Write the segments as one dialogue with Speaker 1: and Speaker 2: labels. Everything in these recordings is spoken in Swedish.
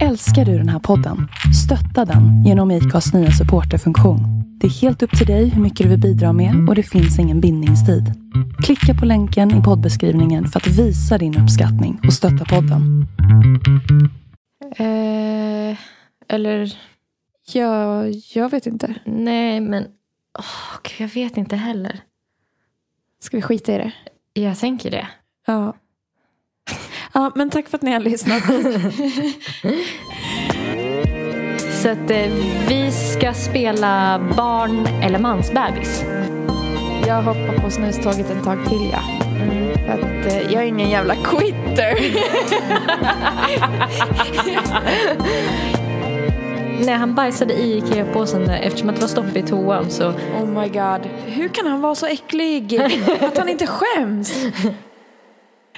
Speaker 1: Älskar du den här podden? Stötta den genom IKAs nya supporterfunktion. Det är helt upp till dig hur mycket du vill bidra med och det finns ingen bindningstid. Klicka på länken i poddbeskrivningen för att visa din uppskattning och stötta podden.
Speaker 2: Eh, eller, ja, jag vet inte.
Speaker 3: Nej, men åh, gud, jag vet inte heller.
Speaker 2: Ska vi skita i det?
Speaker 3: Jag tänker det.
Speaker 2: Ja. Ja, men tack för att ni har lyssnat.
Speaker 3: Så att eh, vi ska spela barn eller mansbebis.
Speaker 2: Jag hoppar på snuståget ett tag till, ja. För att, eh, jag är ingen jävla quitter.
Speaker 3: Nej, han bajsade i Ikea-påsen där. eftersom att det var stopp i toan så
Speaker 2: Oh my god. Hur kan han vara så äcklig? Att han inte skäms.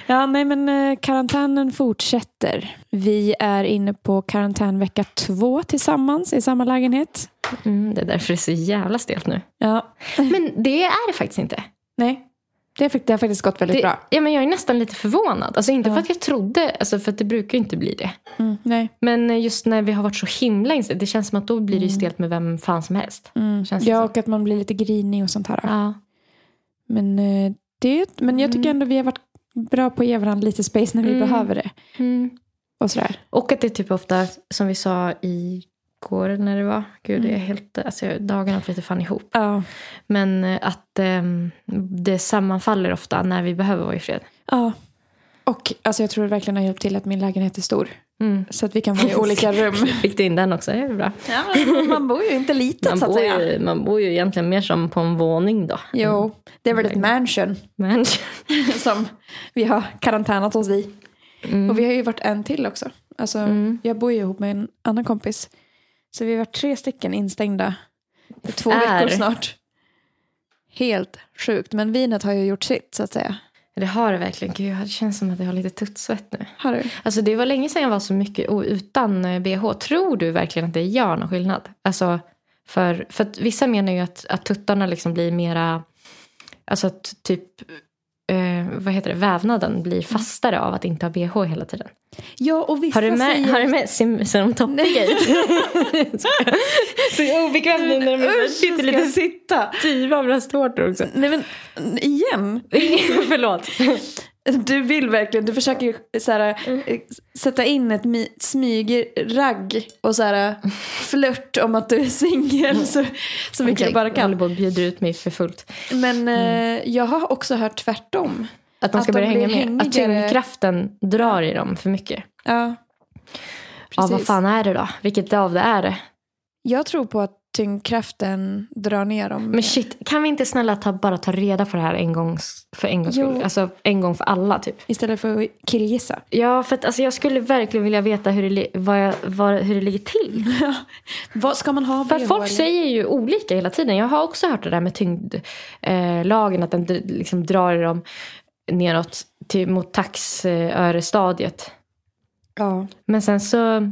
Speaker 2: Ja, nej men eh, karantänen fortsätter. Vi är inne på karantänvecka två tillsammans i samma lägenhet.
Speaker 3: mm, det är därför det är så jävla stelt nu.
Speaker 2: Ja,
Speaker 3: Men det är det faktiskt inte.
Speaker 2: nej. Det, fick, det har faktiskt gått väldigt
Speaker 3: Det,
Speaker 2: bra.
Speaker 3: ja, men jag är nästan lite förvånad. Alltså inte
Speaker 2: Ja.
Speaker 3: för att jag trodde, alltså för att det brukar ju inte bli det.
Speaker 2: Mm, nej.
Speaker 3: Men eh, just när vi har varit så himla inställda, det känns som att då blir det ju stelt med vem fan som helst.
Speaker 2: Mm.
Speaker 3: Känns det
Speaker 2: Ja,
Speaker 3: som.
Speaker 2: och att man blir lite grinig och sånt här.
Speaker 3: Ja.
Speaker 2: Men, eh, det, men jag tycker ändå vi har varit bra på att ge varandra lite space när vi
Speaker 3: Mm.
Speaker 2: behöver det.
Speaker 3: Mm.
Speaker 2: Och sådär.
Speaker 3: Och att det är typ ofta, som vi sa igår när det var, gud det är
Speaker 2: Mm.
Speaker 3: helt, alltså, jag- dagarna flyter fan ihop.
Speaker 2: Ja.
Speaker 3: Men eh, att ehm, det sammanfaller ofta när vi behöver vara i fred.
Speaker 2: ja. Och alltså, jag tror det verkligen har hjälpt till att min lägenhet är stor.
Speaker 3: Mm.
Speaker 2: Så att vi kan vara i olika rum.
Speaker 3: Fick du in den också? Det är bra.
Speaker 2: man bor ju inte litet
Speaker 3: Man bor, ju, man bor ju egentligen mer som på en våning då.
Speaker 2: Jo, det är väl
Speaker 3: Mm.
Speaker 2: ett mansion
Speaker 3: Men,
Speaker 2: som vi har karantänat oss i.
Speaker 3: mm.
Speaker 2: Och vi har ju varit en till också. Alltså,
Speaker 3: Mm.
Speaker 2: Jag bor ju ihop med en annan kompis. Så vi har varit tre stycken instängda i två
Speaker 3: Är.
Speaker 2: veckor snart. Helt sjukt, men vinet har ju gjort sitt så att säga.
Speaker 3: Det har det verkligen. Gud, det känns som att jag har lite tuttsvett nu.
Speaker 2: Har du?
Speaker 3: Alltså det var länge sedan jag var så mycket o- utan eh, bh. Tror du verkligen att det gör någon skillnad? Alltså för, för att vissa menar ju att, att tuttarna liksom blir mera, alltså att typ, eh, vad heter det, vävnaden blir fastare av att inte ha bh hela tiden.
Speaker 2: Ja, och vissa
Speaker 3: Har du med,
Speaker 2: säger...
Speaker 3: har du med, ser, ser de toppiga ut? så obekvämt nu när de är
Speaker 2: Usch,
Speaker 3: så-
Speaker 2: jag
Speaker 3: sitter
Speaker 2: ska
Speaker 3: lite
Speaker 2: sitta.
Speaker 3: styva bröstvårtor också.
Speaker 2: Nej men, igen.
Speaker 3: Förlåt.
Speaker 2: Du vill verkligen, du försöker ju så här, eh, sätta in ett mi- smygragg och så här, eh, flört om att du är singel så, så mycket jag bara
Speaker 3: håller
Speaker 2: kan.
Speaker 3: på och bjuder ut mig för fullt.
Speaker 2: Men eh, jag har också hört tvärtom.
Speaker 3: Att man
Speaker 2: Att
Speaker 3: ska
Speaker 2: de
Speaker 3: börja hänga
Speaker 2: blir
Speaker 3: med. Att
Speaker 2: hängigare.
Speaker 3: tyngdkraften drar i dem för mycket.
Speaker 2: Ja,
Speaker 3: Ja,
Speaker 2: precis.
Speaker 3: vad fan är det då? Vilket av det är det?
Speaker 2: Jag tror på att tyngdkraften drar ner dem.
Speaker 3: Men shit, kan vi inte snälla ta, bara ta reda på det här en gång, s- för en gångs
Speaker 2: Jo.
Speaker 3: skull? Alltså en gång för alla typ.
Speaker 2: Istället för att killgissa.
Speaker 3: Ja, för att alltså, jag skulle verkligen vilja veta hur det, li- vad jag, vad, hur det ligger
Speaker 2: Mm.
Speaker 3: till.
Speaker 2: Vad ska man ha
Speaker 3: För
Speaker 2: BH,
Speaker 3: att folk
Speaker 2: eller?
Speaker 3: säger ju olika hela tiden. Jag har också hört det där med tyngdlagen, eh, lagen, att den dr- liksom drar i dem neråt till, mot taxörestadiet.
Speaker 2: Ja.
Speaker 3: Men sen så,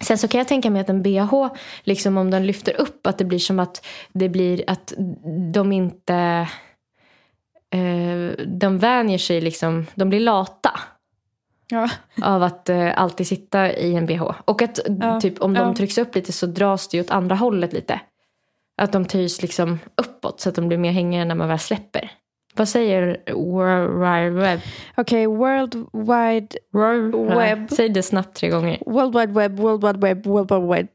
Speaker 3: sen så kan jag tänka mig att en bh, liksom om den lyfter upp, att det blir som att det blir att de inte... Eh, de vänjer sig liksom, de blir lata
Speaker 2: ja.
Speaker 3: av att eh, alltid sitta i en bh. Och att
Speaker 2: Ja,
Speaker 3: typ om de
Speaker 2: ja.
Speaker 3: trycks upp lite så dras det ju åt andra hållet lite. Att de töjs liksom uppåt så att de blir mer hängiga när man väl släpper. Vad säger World Wide
Speaker 2: Okej, World Wide
Speaker 3: Web?
Speaker 2: Web.
Speaker 3: Säg det snabbt tre gånger.
Speaker 2: World Wide Web, World Wide Web, World Wide Web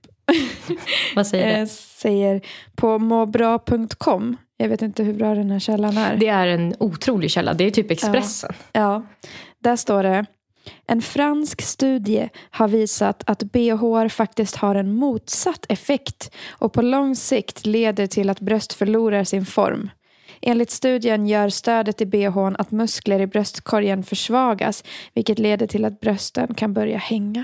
Speaker 3: Vad säger det?
Speaker 2: eh, säger på måbra.com. Jag vet inte hur bra den här källan är.
Speaker 3: Det är en otrolig källa. Det är typ Expressen.
Speaker 2: Ja, där står det. En fransk studie har visat att bh faktiskt har en motsatt effekt och på lång sikt leder till att bröst förlorar sin form. Enligt studien gör stödet i bhn att muskler i bröstkorgen försvagas vilket leder till att brösten kan börja hänga.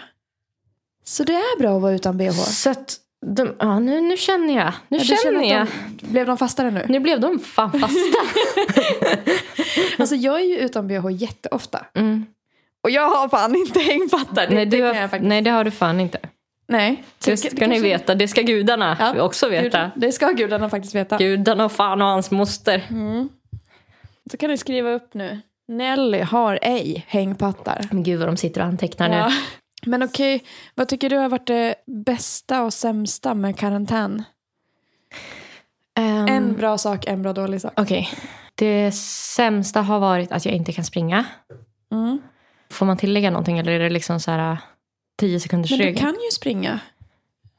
Speaker 2: Så det är bra att vara utan bh?
Speaker 3: Så att de, ja, nu, nu känner jag. Nu
Speaker 2: Ja, du
Speaker 3: känner,
Speaker 2: känner att
Speaker 3: jag.
Speaker 2: De, blev de fastare nu?
Speaker 3: Nu blev de fan fasta.
Speaker 2: Alltså jag är ju utan bh jätteofta.
Speaker 3: Mm.
Speaker 2: Och jag har fan inte hängfattar. Det,
Speaker 3: nej,
Speaker 2: det
Speaker 3: du
Speaker 2: kan
Speaker 3: har,
Speaker 2: jag faktiskt.
Speaker 3: nej, det har du fan inte.
Speaker 2: Nej.
Speaker 3: Det ska ni veta. Det ska gudarna
Speaker 2: Ja,
Speaker 3: också veta.
Speaker 2: Det ska gudarna faktiskt veta.
Speaker 3: Gudarna och fan och hans moster.
Speaker 2: Mm. Så kan du skriva upp nu. Nelly har ej hängpattar.
Speaker 3: Men gud vad de sitter och antecknar nu.
Speaker 2: Ja. Men okej, vad tycker du har varit det bästa och sämsta med karantän?
Speaker 3: Ehm,
Speaker 2: En bra sak, en bra dålig sak.
Speaker 3: Okej. Det sämsta har varit att jag inte kan springa.
Speaker 2: Mm.
Speaker 3: Får man tillägga någonting eller är det liksom så här 10 sekunders
Speaker 2: Men du
Speaker 3: rygg?
Speaker 2: kan ju springa.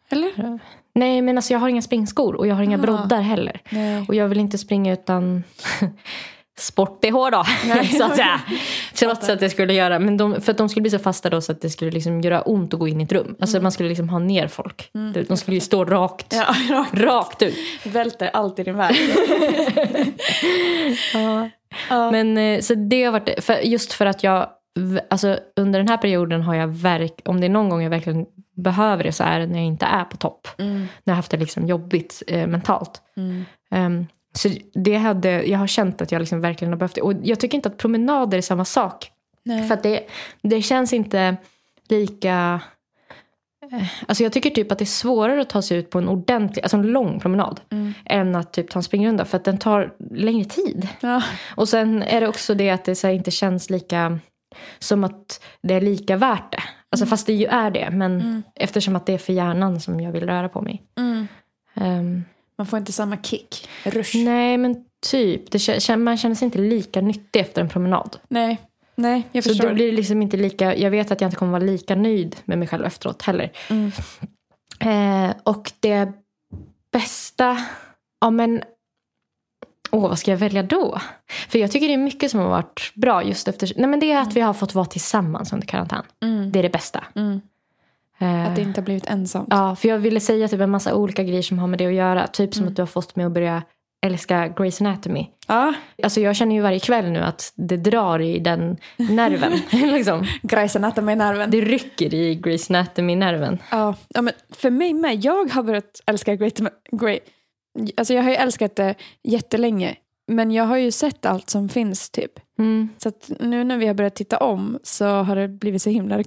Speaker 2: Eller?
Speaker 3: Nej men alltså jag har inga springskor och jag har inga
Speaker 2: Ah.
Speaker 3: broddar heller.
Speaker 2: Nej.
Speaker 3: Och jag vill inte springa utan sport-bh då.
Speaker 2: Nej,
Speaker 3: så att säga. Trots
Speaker 2: Fattar.
Speaker 3: att jag skulle göra, men de, för att de skulle bli så fasta då så att det skulle liksom göra ont att gå in i ett rum. Alltså man skulle liksom ha ner folk. Du vet, De skulle ju stå rakt,
Speaker 2: Mm. Ja, rakt.
Speaker 3: rakt ut.
Speaker 2: Välter allt i din väg. Ja.
Speaker 3: Men eh, så det har varit, för, just för att jag, v- alltså under den här perioden har jag verk, om det är någon gång jag verkligen behöver det så är det när jag inte är på topp.
Speaker 2: Mm.
Speaker 3: När jag har haft det liksom jobbigt eh, mentalt.
Speaker 2: Mm.
Speaker 3: Ehm, så det hade, jag har känt att jag liksom verkligen har behövt det. Och jag tycker inte att promenader är samma sak.
Speaker 2: Nej.
Speaker 3: För att det, det känns inte lika... eh, Alltså jag tycker typ att det är svårare att ta sig ut på en ordentlig, alltså en lång promenad.
Speaker 2: Mm.
Speaker 3: Än att typ ta en springrunda för att den tar längre tid.
Speaker 2: Ja.
Speaker 3: Och sen är det också det att det så här inte känns lika som att det är lika värt det. Alltså fast det ju är det. Men
Speaker 2: Mm.
Speaker 3: eftersom att det är för hjärnan som jag vill röra på mig.
Speaker 2: Mm.
Speaker 3: Ehm,
Speaker 2: Man får inte samma kick. Rush.
Speaker 3: nej men typ, det, kä- man känner sig inte lika nyttig efter en promenad.
Speaker 2: Nej. Nej, jag
Speaker 3: Så
Speaker 2: förstår.
Speaker 3: då blir det liksom inte lika, jag vet att jag inte kommer vara lika nöjd med mig själv efteråt heller.
Speaker 2: Mm.
Speaker 3: Eh, och det bästa, ja men, åh vad ska jag välja då? För jag tycker det är mycket som har varit bra just efter, nej men det är att vi har fått vara tillsammans under karantän.
Speaker 2: Mm.
Speaker 3: Det är det bästa.
Speaker 2: Mm.
Speaker 3: Eh,
Speaker 2: Att det inte har blivit ensamt.
Speaker 3: Ja, för jag ville säga typ en massa olika grejer som har med det att göra. Typ
Speaker 2: Mm.
Speaker 3: som att du har fått mig att börja älska Grey's Anatomy.
Speaker 2: Ja.
Speaker 3: Alltså jag känner ju varje kväll nu att det drar i den nerven. liksom.
Speaker 2: Grey's Anatomy-nerven.
Speaker 3: Det rycker i Grace Anatomy-nerven.
Speaker 2: Ja, ja, men för mig med. Jag har börjat älska Great... Grey. Alltså jag har ju älskat det jättelänge. Men jag har ju sett allt som finns typ. Så att nu när vi har börjat titta om så har det blivit så himla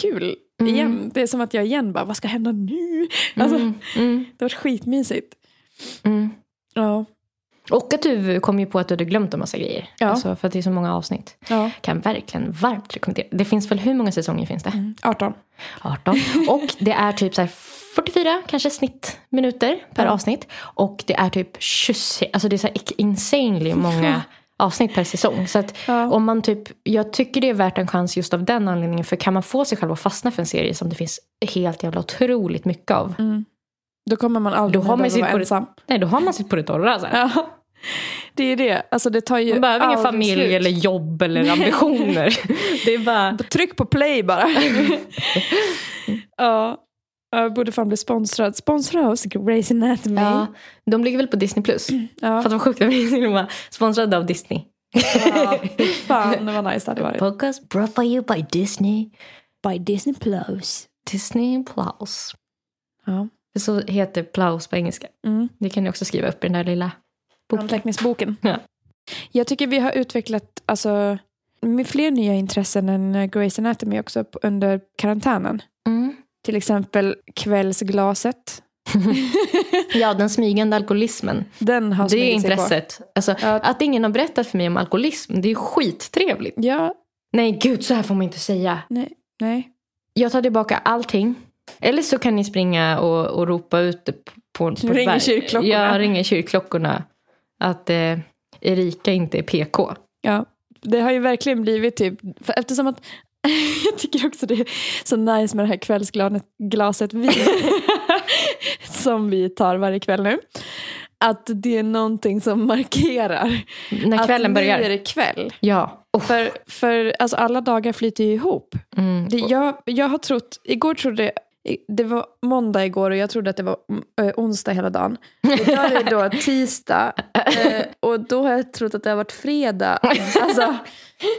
Speaker 2: kul
Speaker 3: Mm.
Speaker 2: igen. Det är som att jag igen bara, vad ska hända nu? Alltså,
Speaker 3: Mm, mm,
Speaker 2: Det har varit skitmysigt.
Speaker 3: mm.
Speaker 2: Ja.
Speaker 3: Och att du kom ju på att du hade glömt en massa grejer.
Speaker 2: Ja.
Speaker 3: Alltså, för att det är så många avsnitt.
Speaker 2: ja.
Speaker 3: Kan verkligen varmt rekommendera. Det finns väl hur många säsonger finns det?
Speaker 2: Mm. 18.
Speaker 3: 18. Och det är typ så här 44 kanske snittminuter per
Speaker 2: Ja.
Speaker 3: avsnitt. Och det är typ 20, alltså det är så här insanely många avsnitt per säsong. Så att
Speaker 2: Ja.
Speaker 3: om man typ, jag tycker det är värt en chans just av den anledningen. För kan man få sig själv att fastna för en serie som det finns helt jävla otroligt mycket av.
Speaker 2: Mm. Då kommer man aldrig
Speaker 3: Då har man ju
Speaker 2: behöva
Speaker 3: sitt
Speaker 2: vara
Speaker 3: på det-
Speaker 2: ensam.
Speaker 3: Nej, då har man sitt på det torra. Så här.
Speaker 2: Ja. Det är det. Alltså det tar ju
Speaker 3: Man behöver ingen
Speaker 2: aldrig
Speaker 3: familj
Speaker 2: slut.
Speaker 3: eller jobb eller ambitioner. det är bara...
Speaker 2: Tryck på play bara. ja. Jag borde fan bli sponsrad. Sponsra oss, Grey's Anatomy.
Speaker 3: Ja, de ligger väl på Disney+. Plus.
Speaker 2: Ja.
Speaker 3: Fattar vad sjukt, de är till och med sponsrade av Disney.
Speaker 2: Ja, Fan vad nice det hade varit.
Speaker 3: Podcast brought by you by Disney.
Speaker 2: By Disney Plus.
Speaker 3: Disney Plus.
Speaker 2: Ja.
Speaker 3: Så heter Plaus på engelska.
Speaker 2: Mm.
Speaker 3: Det kan ni också skriva upp i den där lilla boken.
Speaker 2: Anteckningsboken.
Speaker 3: Ja.
Speaker 2: Jag tycker vi har utvecklat alltså, med fler nya intressen än eh, Grey's Anatomy också på- under karantänen.
Speaker 3: Mm.
Speaker 2: Till exempel kvällsglaset.
Speaker 3: Ja, den smygande alkoholismen.
Speaker 2: Den har
Speaker 3: Det är
Speaker 2: smugit sig på.
Speaker 3: intresset. Alltså,
Speaker 2: Ja.
Speaker 3: Att ingen har berättat för mig om alkoholism, det är skittrevligt.
Speaker 2: Ja,
Speaker 3: Nej, gud, så här får man inte säga.
Speaker 2: nej, nej.
Speaker 3: Jag tar tillbaka allting. Eller så kan ni springa och, och ropa ut det på, på ett
Speaker 2: Ringer
Speaker 3: berg.
Speaker 2: kyrkklockorna.
Speaker 3: Ja, ringer kyrkklockorna. Att eh, Erika inte är PK.
Speaker 2: Ja, det har ju verkligen blivit typ, för eftersom att jag tycker också det är så nice med det här kvällsglaset vin som vi tar varje kväll nu. Att det är någonting som markerar
Speaker 3: När kvällen
Speaker 2: att nu är
Speaker 3: börjar.
Speaker 2: det kväll.
Speaker 3: Ja. Oh.
Speaker 2: För, för alltså, alla dagar flyter ju ihop.
Speaker 3: Mm.
Speaker 2: Det, jag, jag har trott, igår trodde det var måndag igår och jag trodde att det var mm, eh, onsdag hela dagen. Idag är det då tisdag eh, och då har jag trott att det har varit fredag. Alltså,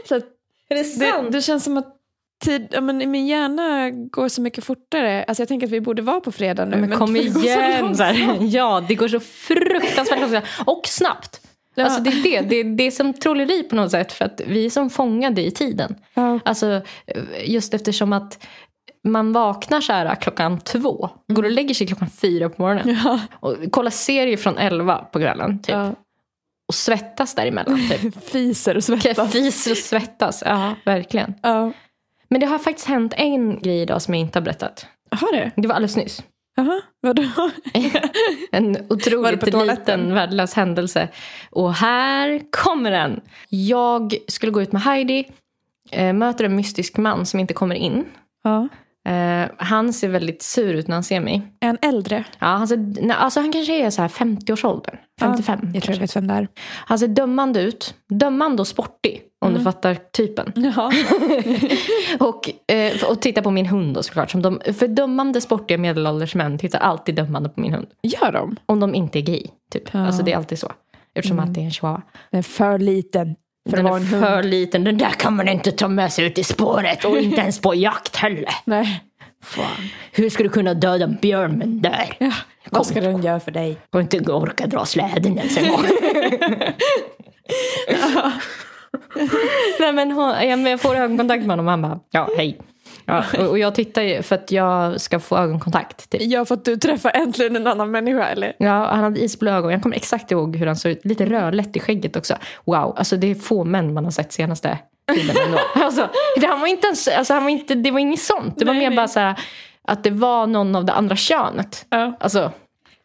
Speaker 2: så att
Speaker 3: Är det
Speaker 2: det, det känns som att tid, ja, men min hjärna går så mycket fortare. Alltså jag tänker att vi borde vara på fredag nu.
Speaker 3: Men, kom
Speaker 2: det går så
Speaker 3: igen! Så här.
Speaker 2: långsamt.
Speaker 3: Ja, det går så fruktansvärt långsamt. Och snabbt.
Speaker 2: Ja.
Speaker 3: Alltså det, är det. Det, är- det är som trolleri på något sätt. För att vi är som fångade i tiden.
Speaker 2: Ja.
Speaker 3: Alltså, just eftersom att man vaknar så här klockan två. Går och lägger sig klockan fyra på morgonen.
Speaker 2: Mm. Ja.
Speaker 3: Och kollar serier från elva på kvällen. Typ.
Speaker 2: Ja.
Speaker 3: Och svettas däremellan. Typ.
Speaker 2: Fiser och svettas.
Speaker 3: Fiser och svettas. Ja, verkligen.
Speaker 2: Ja.
Speaker 3: Men det har faktiskt hänt en grej idag som jag inte har berättat.
Speaker 2: Har du?
Speaker 3: Det var alldeles nyss.
Speaker 2: Jaha, vadå?
Speaker 3: En
Speaker 2: Var det på
Speaker 3: otroligt
Speaker 2: toaletten?
Speaker 3: liten värdelös händelse. Och här kommer den. Jag skulle gå ut med Heidi. Eh, möter en mystisk man som inte kommer in.
Speaker 2: Ja.
Speaker 3: Eh, han ser väldigt sur ut när han ser mig.
Speaker 2: Är han äldre?
Speaker 3: Ja, han, ser, nej, alltså han kanske är så här 50-årsåldern. 55
Speaker 2: Jag tror
Speaker 3: kanske.
Speaker 2: jag vet vem det är.
Speaker 3: Han ser dömande ut. Dömande och sportig. Om
Speaker 2: Mm.
Speaker 3: du fattar typen.
Speaker 2: Jaha.
Speaker 3: och, eh, och titta på min hund då såklart. Som de, för dömande sportiga medelålders män tittar alltid dömande på min hund.
Speaker 2: Gör de?
Speaker 3: Om de inte är gay. Typ.
Speaker 2: Ja.
Speaker 3: Alltså det är alltid så. Eftersom att det är en chihuahua.
Speaker 2: Den är för liten för
Speaker 3: den
Speaker 2: att vara
Speaker 3: är
Speaker 2: en
Speaker 3: för
Speaker 2: hund.
Speaker 3: liten. Den där kan man inte ta med sig ut i spåret. Och inte ens på jakt heller.
Speaker 2: Nej.
Speaker 3: Fan. Hur ska du kunna döda en björn med den där?
Speaker 2: Ja.
Speaker 3: Kom.
Speaker 2: Vad ska den göra för dig?
Speaker 3: Och inte orka dra släden ens en gång. Nej men hon, ja, men jag får ögonkontakt med honom och han bara, ja hej. Ja, och, och jag tittar ju för att jag ska få ögonkontakt. Typ.
Speaker 2: Ja, för att du träffar äntligen en annan människa eller?
Speaker 3: Ja, han hade isblå ögon. Jag kommer exakt ihåg hur han såg ut. Lite rödlätt i skägget också. Wow, alltså det är få män man har sett senaste tiden ändå. alltså, det, han var inte ens, alltså, han var inte, det var inget sånt. Det var
Speaker 2: Nej,
Speaker 3: mer
Speaker 2: nej.
Speaker 3: bara så här, att det var någon av det andra könet.
Speaker 2: Ja.
Speaker 3: Alltså,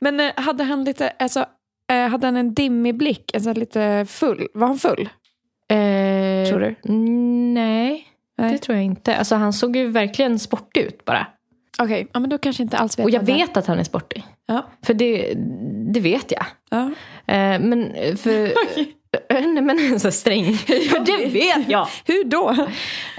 Speaker 2: Men eh, hade han lite, alltså, eh, hade han en dimmig blick? Alltså lite full? Var han full?
Speaker 3: eh,
Speaker 2: Tror du?
Speaker 3: Nej,
Speaker 2: Nej.
Speaker 3: det tror jag inte. Alltså, han såg ju verkligen sportig ut bara.
Speaker 2: Okej, ja, men då kanske inte alls vet
Speaker 3: Och jag
Speaker 2: vem det är.
Speaker 3: vet att han är sportig.
Speaker 2: Ja.
Speaker 3: För det, det vet jag.
Speaker 2: Ja.
Speaker 3: Eh, men eh, för... Eh, Nej men så sträng. För det vet jag.
Speaker 2: Hur då?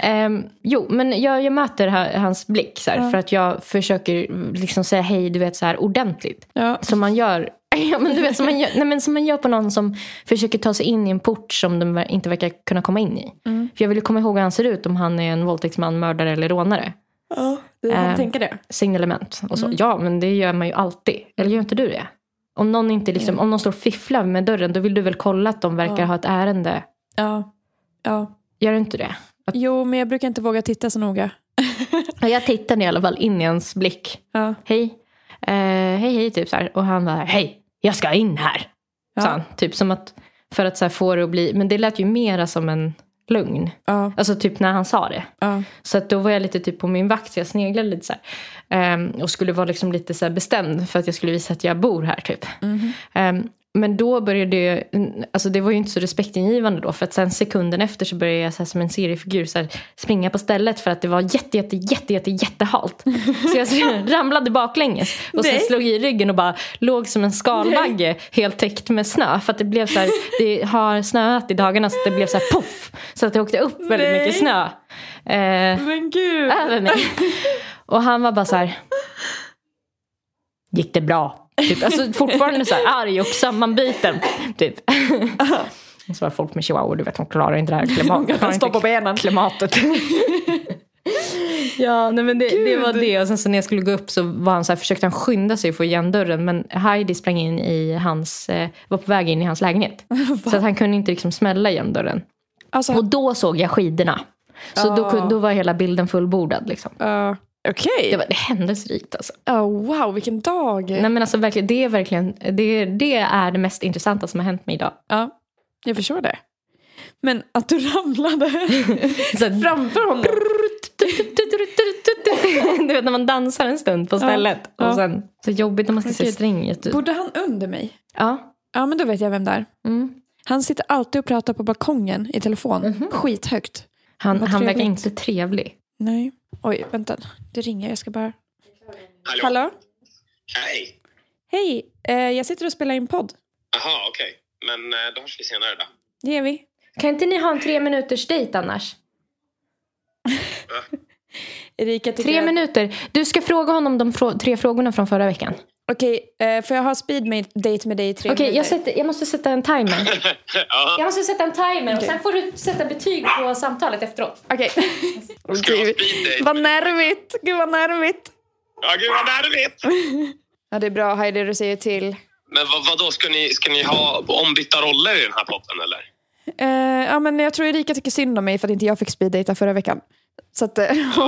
Speaker 3: Ehm, jo, men jag, jag möter ha- hans blick så här, för att jag försöker liksom säga hej du vet, så här, ordentligt.
Speaker 2: Ja.
Speaker 3: Som man gör Ja, men du vet, som, man gör, nej, men som man gör på någon som försöker ta sig in i en port som de ver- inte verkar kunna komma in i. För jag vill ju komma ihåg hur han ser ut, om han är en våldtäktsman, mördare eller rånare.
Speaker 2: ja du
Speaker 3: kan
Speaker 2: tänka det.
Speaker 3: Signalement och så. Ja, men det gör man ju alltid. Eller gör inte du det? Om någon, inte liksom, om någon står och fifflar med dörren, då vill du väl kolla att de verkar
Speaker 2: Ja.
Speaker 3: ha ett ärende.
Speaker 2: Ja. ja.
Speaker 3: Gör du inte det? Att,
Speaker 2: Jo, men jag brukar inte våga titta så noga.
Speaker 3: Ja, jag tittade i alla fall in i hans blick.
Speaker 2: Ja.
Speaker 3: hej, eh, hej, hej, typ så här. Och han var hej, jag ska in här.
Speaker 2: Ja.
Speaker 3: Sa han, typ som att, för att så här få det att bli, men det lät ju mera som en lugn.
Speaker 2: Ja.
Speaker 3: Alltså typ när han sa det.
Speaker 2: Ja.
Speaker 3: Så att då var jag lite typ på min vakt, så jag sneglade lite så här. Ehm, och skulle vara liksom lite så här bestämd för att jag skulle visa att jag bor här typ.
Speaker 2: Mhm.
Speaker 3: Ehm, men då började jag, alltså det var ju inte så respektingivande då för att sen sekunden efter så började jag så här som en seriefigur så här, springa på stället för att det var jätte jätte jätte jätte jättehalt. Så jag så här ramlade baklänges och sen
Speaker 2: Nej.
Speaker 3: slog i ryggen och bara låg som en skalbagge helt täckt med snö för att det blev så här, det har snöat i dagarna så att det blev så här poff så att det åkte upp väldigt
Speaker 2: Nej.
Speaker 3: mycket snö. Eh,
Speaker 2: Men gud.
Speaker 3: över mig. Och han var bara så här. Gick det bra? Typ. Alltså, fortfarande så här arg och sammanbiten. Typ. Och så var folk med chihuahua, du vet de klarar inte det här klimatet.
Speaker 2: Han står på benen.
Speaker 3: klimatet. ja, nej, men det, det
Speaker 2: Gud.
Speaker 3: var det. Och sen så när jag skulle gå upp så var han så här, försökte han skynda sig och få igen dörren. Men Heidi sprang in i hans, eh, var på väg in i hans lägenhet. så att han kunde inte liksom smälla igen dörren. Ah.
Speaker 2: Alltså,
Speaker 3: Och då såg jag skidorna. Så då,
Speaker 2: Ja.
Speaker 3: kunde- då var hela bilden fullbordad. Liksom.
Speaker 2: ja. okej.
Speaker 3: Det var det är händelserikt alltså.
Speaker 2: Oh, wow, vilken dag.
Speaker 3: Nej, men alltså verkligen, det, är verkligen det, det är det mest intressanta som har hänt mig idag.
Speaker 2: Ja, jag förstår det. Men att du ramlade
Speaker 3: Så att-
Speaker 2: framför honom.
Speaker 3: Du vet när man dansar en stund på stället.
Speaker 2: ja.
Speaker 3: Och sen, så jobbigt när man ska se
Speaker 2: Gud.
Speaker 3: stränget ut. typ.
Speaker 2: Bodde han under mig?
Speaker 3: Ja.
Speaker 2: Ja, men då vet jag vem det är.
Speaker 3: Mm.
Speaker 2: Han sitter alltid och pratar på balkongen i telefon. Skithögt.
Speaker 3: Han,
Speaker 2: Vad
Speaker 3: han verkar
Speaker 2: trevligt.
Speaker 3: inte trevlig.
Speaker 2: Nej. Oj, vänta. Det ringer. Jag ska bara...
Speaker 4: Hallå?
Speaker 2: Hallå?
Speaker 4: Hej!
Speaker 2: Hej, eh, jag sitter och spelar in podd.
Speaker 4: Jaha, okej. Men eh, då hörs vi senare då.
Speaker 2: Det är vi.
Speaker 3: Kan inte ni ha en tre minuters dejt annars?
Speaker 2: Erika tycker
Speaker 3: Tre
Speaker 2: att-
Speaker 3: minuter. Du ska fråga honom de frå- tre frågorna från förra veckan.
Speaker 2: Okej, eh, får jag ha speed med- date med dig i tre
Speaker 3: Okej, jag,
Speaker 2: minuter?
Speaker 3: sätter- jag måste sätta en timer.
Speaker 4: ja,
Speaker 3: Jag måste sätta en timer och
Speaker 2: Okej.
Speaker 3: sen får du sätta betyg på samtalet efteråt.
Speaker 2: Okej.
Speaker 4: ska vi ha
Speaker 2: Gud,
Speaker 4: speed date?
Speaker 2: Vad nervigt! Gud vad nervigt!
Speaker 4: Ja, gud vad nervigt!
Speaker 2: Ja, det är bra Heidi, du säger till.
Speaker 4: Men vad, vadå, ska ni, ska ni ha ombytta roller i den här podden eller?
Speaker 2: Eh, ja, men jag tror Erika tycker synd om mig för att inte jag fick speeddejta förra veckan. Så att, eh,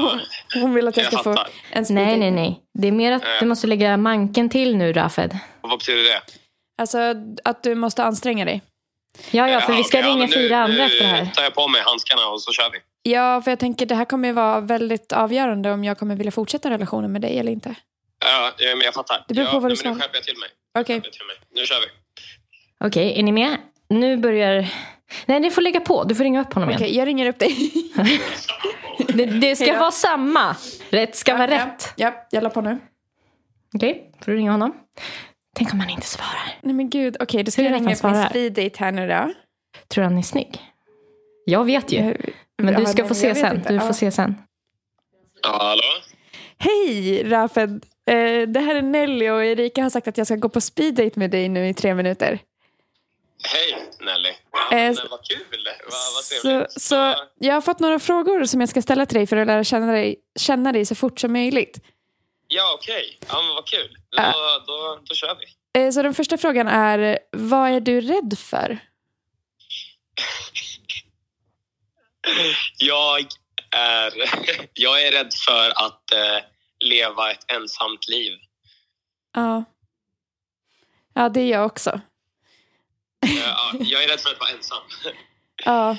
Speaker 2: hon vill att jag
Speaker 4: Jag
Speaker 2: ska få
Speaker 4: fattar.
Speaker 2: en speeddate.
Speaker 3: Nej, nej, nej. Det är mer att du måste lägga manken till nu, Rafed.
Speaker 4: Vad betyder det?
Speaker 2: Alltså att du måste ansträngna dig.
Speaker 3: Ja, ja, för vi ska
Speaker 4: okej,
Speaker 3: ringa
Speaker 4: men nu-
Speaker 3: fyra andra
Speaker 4: nu
Speaker 3: efter det här.
Speaker 4: tar jag på mig handskarna och så kör vi.
Speaker 2: Ja, för jag tänker det här kommer ju vara väldigt avgörande om jag kommer vilja fortsätta relationen med dig eller inte.
Speaker 4: Ja, ja, men jag fattar.
Speaker 2: Det beror på
Speaker 4: ja,
Speaker 2: vad du
Speaker 4: nej, men Nu
Speaker 2: sa.
Speaker 4: skärper jag till mig.
Speaker 2: Okej.
Speaker 4: Skärper jag till mig. Nu kör vi.
Speaker 3: Okej, är ni med? Nu börjar... Nej, du får lägga på. Du får ringa upp honom
Speaker 2: Okej,
Speaker 3: igen.
Speaker 2: jag ringer upp dig.
Speaker 3: Det, det ska
Speaker 2: Hejdå.
Speaker 3: vara samma. Rätt ska vara rätt.
Speaker 2: Ja, ja, jag la på nu.
Speaker 3: Okej, får du ringa honom? Tänk om han inte svarar.
Speaker 2: Nej men gud, okej då ska
Speaker 3: Hur
Speaker 2: jag
Speaker 3: är det
Speaker 2: ringa
Speaker 3: att
Speaker 2: upp
Speaker 3: han
Speaker 2: min
Speaker 3: svarar?
Speaker 2: speeddate här nu då.
Speaker 3: Tror du han är snygg? Jag vet ju.
Speaker 2: Eh,
Speaker 3: Men du
Speaker 2: ja,
Speaker 3: ska
Speaker 2: nej,
Speaker 3: få
Speaker 2: jag
Speaker 3: se
Speaker 2: vet
Speaker 3: sen.
Speaker 2: inte.
Speaker 3: Du
Speaker 2: Ja.
Speaker 3: får se sen.
Speaker 4: Ja, hallå?
Speaker 2: Hej Rafed! Eh, det här är Nelly och Erika har sagt att jag ska gå på speeddate med dig nu i tre minuter.
Speaker 4: Hej Nelly.
Speaker 2: Eh,
Speaker 4: Men, vad kul. Vad, vad
Speaker 2: så,
Speaker 4: trevligt.
Speaker 2: så jag har fått några frågor som jag ska ställa till dig för att lära känna dig, känna dig så fort som möjligt.
Speaker 4: Ja, okej. Ja, men vad kul. Då, då, då kör vi.
Speaker 2: Eh, så den första frågan är, vad är du rädd för?
Speaker 4: Jag är, jag är rädd för att eh, leva ett ensamt liv.
Speaker 2: Ja. Ja, det är jag också.
Speaker 4: Eh, ja, jag är rädd för att vara ensam.
Speaker 2: Ja,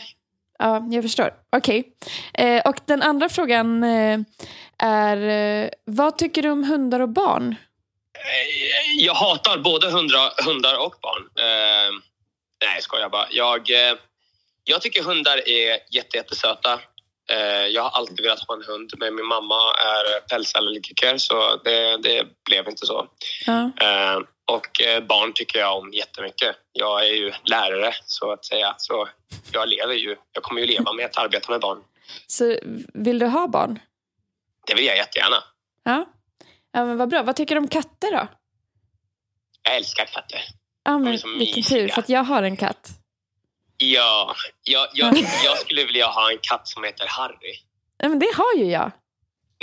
Speaker 2: ja jag förstår. Okej. Eh, och den andra frågan eh, är, eh, vad tycker du om hundar och barn?
Speaker 4: Eh, Jag hatar både hundra, hundar och barn. Eh, nej, jag skojar bara. Jag, eh, jag tycker hundar är jätte, jättesöta. Eh, jag har alltid velat ha en hund, men min mamma är pälsallergiker så det, det blev inte så.
Speaker 2: Ja.
Speaker 4: Eh, och eh, barn tycker jag om jättemycket. Jag är ju lärare, så att säga. Så jag lever ju. Jag kommer ju leva med att arbeta med barn.
Speaker 2: Så vill du ha barn?
Speaker 4: Det vill jag jättegärna.
Speaker 2: Ja. Ja, men vad bra. Vad tycker du om katter då?
Speaker 4: Jag älskar katter.
Speaker 2: Ja,
Speaker 4: De
Speaker 2: men
Speaker 4: är så
Speaker 2: vilken
Speaker 4: mysiga.
Speaker 2: tur, för att jag har en katt.
Speaker 4: Ja, jag, jag, jag skulle vilja ha en katt som heter Harry.
Speaker 2: Ja, men det har ju jag.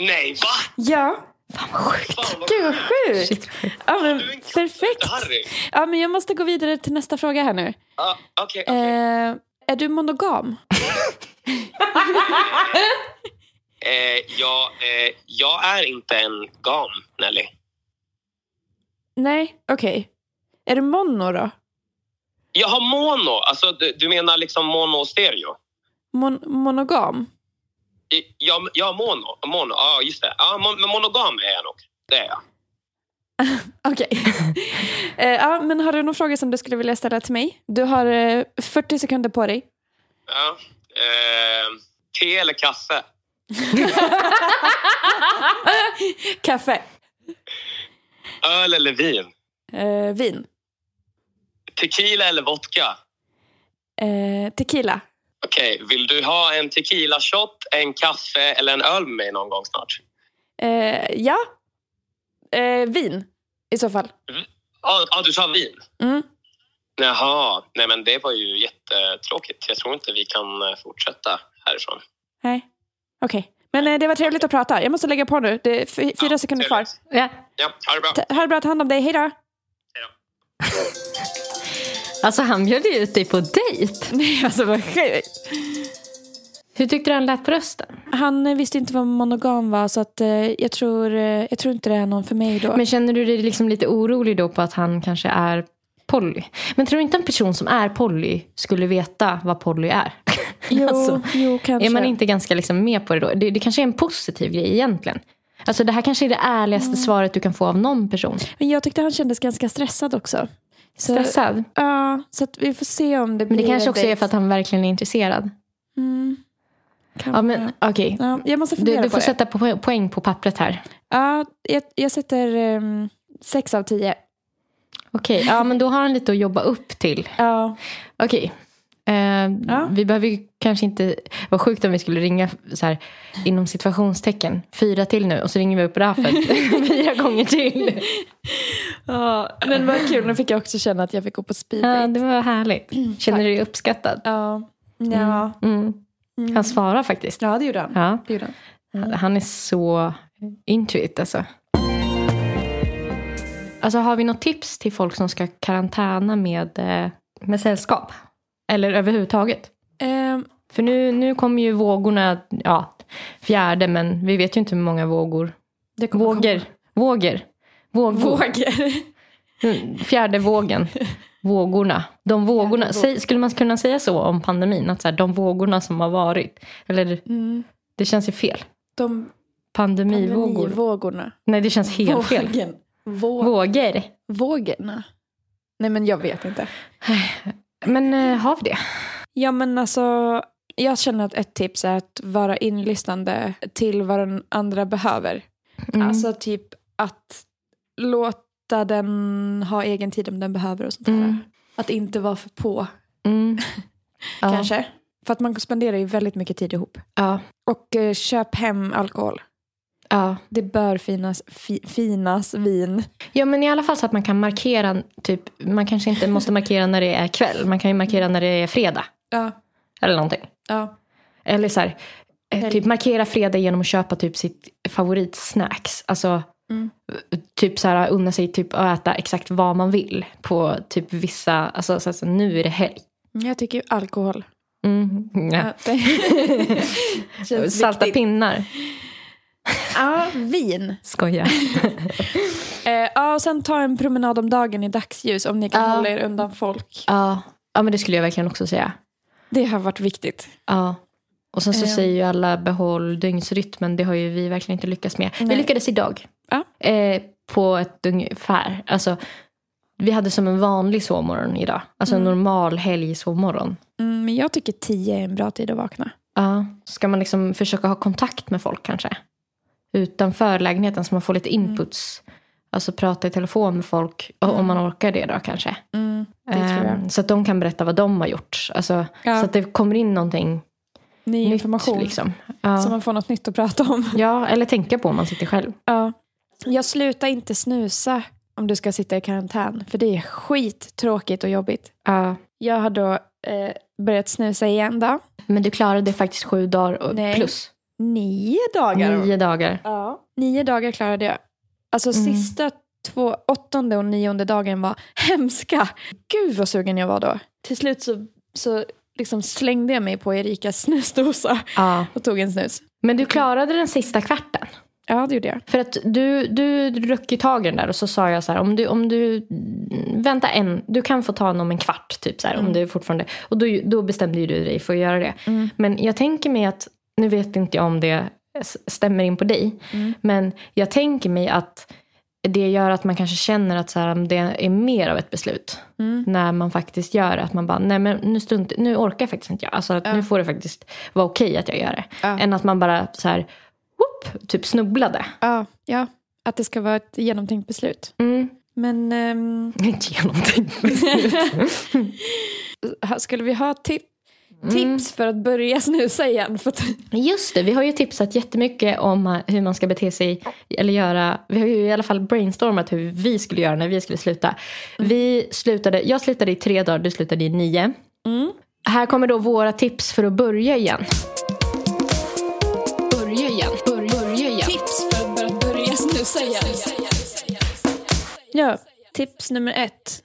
Speaker 4: Nej, va?
Speaker 2: Ja.
Speaker 3: Fan vad sjukt.
Speaker 4: Fan, vad
Speaker 2: Gud vad sjukt.
Speaker 3: Shit, vad sjukt.
Speaker 2: Ja, men
Speaker 4: Du är en katt som heter
Speaker 2: perfekt.
Speaker 4: Harry.
Speaker 2: Ja, men jag måste gå vidare till nästa fråga här nu.
Speaker 4: Ah, Okej, okej.
Speaker 2: Eh, är du monogam?
Speaker 4: Eh, jag, eh, jag är inte en gam, Nelly.
Speaker 2: Nej, okej. Är du mono då?
Speaker 4: Jag har mono. Alltså, du, du menar liksom mono och stereo?
Speaker 2: Mon- monogam?
Speaker 4: I- Ja, ja mono. mono. Ja, just det. Ja, mon, men monogam är jag nog. Det är jag.
Speaker 2: Okej. eh, ja, men har du någon fråga som du skulle vilja ställa till mig? Du har eh, 40 sekunder på dig.
Speaker 4: Ja. Eh, te eller kaffe?
Speaker 2: Kaffe.
Speaker 4: Öl eller vin?
Speaker 2: Eh, vin.
Speaker 4: Tequila eller vodka?
Speaker 2: Eh, tequila.
Speaker 4: Okej, vill du ha en tequila shot, en kaffe eller en öl med mig någon gång snart?
Speaker 2: Eh, ja. Eh, vin i så fall.
Speaker 4: Ja, ah, du sa vin.
Speaker 2: Mm.
Speaker 4: Jaha, nej men det var ju jättetråkigt. Jag tror inte vi kan eh, fortsätta härifrån.
Speaker 2: Nej. Okej. Men eh, det var trevligt att prata. Jag måste lägga på nu. Det är f- fyra
Speaker 4: Ja,
Speaker 2: sekunder kvar.
Speaker 4: trevligt.
Speaker 3: Ja.
Speaker 4: Ja, ha det bra.
Speaker 2: Ta- Ha det bra. Ta hand om dig. Hej då.
Speaker 4: Hej då.
Speaker 3: Alltså han bjöd ju ut dig på dejt.
Speaker 2: Nej, alltså vad sjukt.
Speaker 3: Hur tyckte du han lät på rösten?
Speaker 2: Han eh, visste inte vad monogam var så att, eh, jag, tror, eh, jag tror inte det är någon för mig då.
Speaker 3: Men känner du dig liksom lite orolig då på att han kanske är poly? Men tror du inte en person som är poly skulle veta vad poly är?
Speaker 2: jo,
Speaker 3: Alltså,
Speaker 2: jo, kanske.
Speaker 3: Är man inte ganska liksom med på det då? Det, det kanske är en positiv grej egentligen. Alltså det här kanske är det ärligaste svaret du kan få av någon person.
Speaker 2: Men jag tyckte han kändes ganska stressad också. Så,
Speaker 3: Stressad.
Speaker 2: Ja, så att vi får se om det blir
Speaker 3: Men det kanske också
Speaker 2: dejt.
Speaker 3: är för att han verkligen är intresserad.
Speaker 2: Mm, kan
Speaker 3: Ja
Speaker 2: vara.
Speaker 3: men okej.
Speaker 2: ja, jag måste fundera
Speaker 3: Du, du
Speaker 2: på
Speaker 3: får
Speaker 2: det.
Speaker 3: sätta po- poäng på pappret här.
Speaker 2: Ja, jag, jag sätter um, sex av tio.
Speaker 3: Okej, ja men då har han lite att jobba upp till.
Speaker 2: Ja,
Speaker 3: Okej. Eh,
Speaker 2: Ja.
Speaker 3: Vi behöver ju kanske inte... Vad sjukt om vi skulle ringa så här, inom situationstecken. Fyra till nu och så ringer vi upp Rafet fyra gånger till.
Speaker 2: ja men vad kul. Nu fick jag också känna att jag fick gå på speed
Speaker 3: Ja,
Speaker 2: date.
Speaker 3: det var härligt. Känner du dig uppskattad?
Speaker 2: Ja, ja.
Speaker 3: Mm. Han svarar faktiskt.
Speaker 2: ja Mm. det gjorde han.
Speaker 3: Ja.
Speaker 2: Det gjorde han.
Speaker 3: Han är så intuit alltså. Alltså har vi något tips till folk som ska karantäna med, eh, med sällskap? Eller överhuvudtaget?
Speaker 2: Ehm,
Speaker 3: För nu, nu kommer ju vågorna, ja, fjärde, men vi vet ju inte hur många vågor.
Speaker 2: det kommer
Speaker 3: Vågor, vågor, vågor.
Speaker 2: komma. Vågor.
Speaker 3: Fjärde vågen. Vågorna. De vågorna.
Speaker 2: Fjärde våg-
Speaker 3: Säg, skulle man kunna säga så om pandemin? Att så här, de vågorna som har varit. Eller
Speaker 2: Mm.
Speaker 3: det känns ju fel.
Speaker 2: De
Speaker 3: Pandemivågor.
Speaker 2: pandemivågorna.
Speaker 3: Nej, det känns helt fel.
Speaker 2: Vågen. Vå-
Speaker 3: Vågor.
Speaker 2: vågorna. Nej men jag vet inte.
Speaker 3: Men eh, har vi det?
Speaker 2: Ja men alltså, jag känner att ett tips är att vara inlyssnande till vad den andra behöver.
Speaker 3: Mm.
Speaker 2: Alltså typ att låta den ha egen tid om den behöver och sånt där.
Speaker 3: Mm.
Speaker 2: Att inte vara för på
Speaker 3: Mm. Ja.
Speaker 2: kanske. För att man spenderar ju väldigt mycket tid ihop.
Speaker 3: Ja.
Speaker 2: Och eh, köp hem alkohol.
Speaker 3: ja.
Speaker 2: Det bör finnas, fi, finas vin.
Speaker 3: Ja men i alla fall så att man kan markera, typ, man kanske inte måste markera när det är kväll. Man kan ju markera när det är fredag
Speaker 2: Ja,
Speaker 3: eller någonting.
Speaker 2: ja.
Speaker 3: Eller så här, eh,
Speaker 2: Helg.
Speaker 3: typ markera fredag genom att köpa typ sitt favoritsnacks. Alltså
Speaker 2: Mm.
Speaker 3: typ så här unna sig typ att äta exakt vad man vill på typ vissa, alltså så här, så nu är det helg.
Speaker 2: Mm, Jag tycker ju alkohol.
Speaker 3: Mm. Ja.
Speaker 2: Ja. det- Känns
Speaker 3: Salta
Speaker 2: viktigt.
Speaker 3: pinnar.
Speaker 2: Ja, vin.
Speaker 3: Skoja.
Speaker 2: Eh, ja, och sen ta en promenad om dagen i dagsljus om ni kan
Speaker 3: Ja.
Speaker 2: hålla er undan folk.
Speaker 3: ja. ja men det skulle jag verkligen också säga.
Speaker 2: Det har varit viktigt.
Speaker 3: Ja. Och sen så
Speaker 2: Ehm.
Speaker 3: säger ju alla behåll dygnsrytmen. Det har ju vi verkligen inte lyckats med. Vi
Speaker 2: Nej.
Speaker 3: lyckades idag.
Speaker 2: Ja.
Speaker 3: Eh, på ett ungefär. Alltså, vi hade som en vanlig sovmorgon idag. Alltså en
Speaker 2: Mm.
Speaker 3: normal helgsovmorgon.
Speaker 2: Mm, men jag tycker tio är en bra tid att vakna.
Speaker 3: Ja. Ska man liksom försöka ha kontakt med folk kanske? Utanför lägenheten så man får lite
Speaker 2: Mm.
Speaker 3: inputs. Alltså prata i telefon med folk. o- Om man orkar det då kanske.
Speaker 2: Mm, det tror jag.
Speaker 3: Ehm, så att de kan berätta vad de har gjort. Alltså,
Speaker 2: Ja.
Speaker 3: Så att det kommer in någonting
Speaker 2: Ny
Speaker 3: nytt.
Speaker 2: information.
Speaker 3: Liksom. Ja.
Speaker 2: Så man får något nytt att prata om.
Speaker 3: Ja, eller tänka på om man sitter själv.
Speaker 2: Ja. Jag slutar inte snusa om du ska sitta i karantän. För det är skittråkigt och jobbigt.
Speaker 3: Ja.
Speaker 2: Jag har då eh, börjat snusa igen då.
Speaker 3: Men du klarade faktiskt sju dagar och
Speaker 2: Nej.
Speaker 3: plus.
Speaker 2: Nio dagar.
Speaker 3: Nio dagar.
Speaker 2: Ja. Nio dagar klarade jag. Alltså
Speaker 3: Mm.
Speaker 2: sista två, åttonde och nionde dagen var hemska. Gud vad sugen jag var då. Till slut så, så liksom slängde jag mig på Erikas snusdosa
Speaker 3: Ja.
Speaker 2: och tog en snus.
Speaker 3: Men du klarade den sista kvarten.
Speaker 2: Ja, det gjorde jag.
Speaker 3: För att du, du ryckte tag i den där och så sa jag så här, om du, om du mm, vänta en, du kan få ta den om en kvart typ så här, om
Speaker 2: Mm.
Speaker 3: du fortfarande, och då, då bestämde ju du dig för att göra det. Men jag tänker mig att, nu vet inte jag om det s- stämmer in på dig,
Speaker 2: Mm.
Speaker 3: men jag tänker mig att det gör att man kanske känner att så här, det är mer av ett beslut.
Speaker 2: Mm.
Speaker 3: när man faktiskt gör det. Att man bara, nej men nu, stunt, nu orkar jag faktiskt inte jag. Alltså att nu får det faktiskt vara okej att jag gör det.
Speaker 2: Ja.
Speaker 3: Än att man bara så här, whoop, typ snubblade.
Speaker 2: Ja, ja, att det ska vara ett genomtänkt beslut.
Speaker 3: Mm.
Speaker 2: Men ehm,
Speaker 3: Inte genomtänkt beslut.
Speaker 2: ha- skulle vi ha ti-
Speaker 3: Mm.
Speaker 2: tips för att börja snusa igen? För att,
Speaker 3: Just det, vi har ju tipsat jättemycket om hur man ska bete sig. Eller göra, vi har ju i alla fall brainstormat hur vi skulle göra när vi skulle sluta. Vi slutade, jag slutade i tre dagar, du slutade i nio.
Speaker 2: Mm.
Speaker 3: Här kommer då våra tips för att börja igen. Börja igen, börja, börja igen.
Speaker 2: ja, tips nummer ett.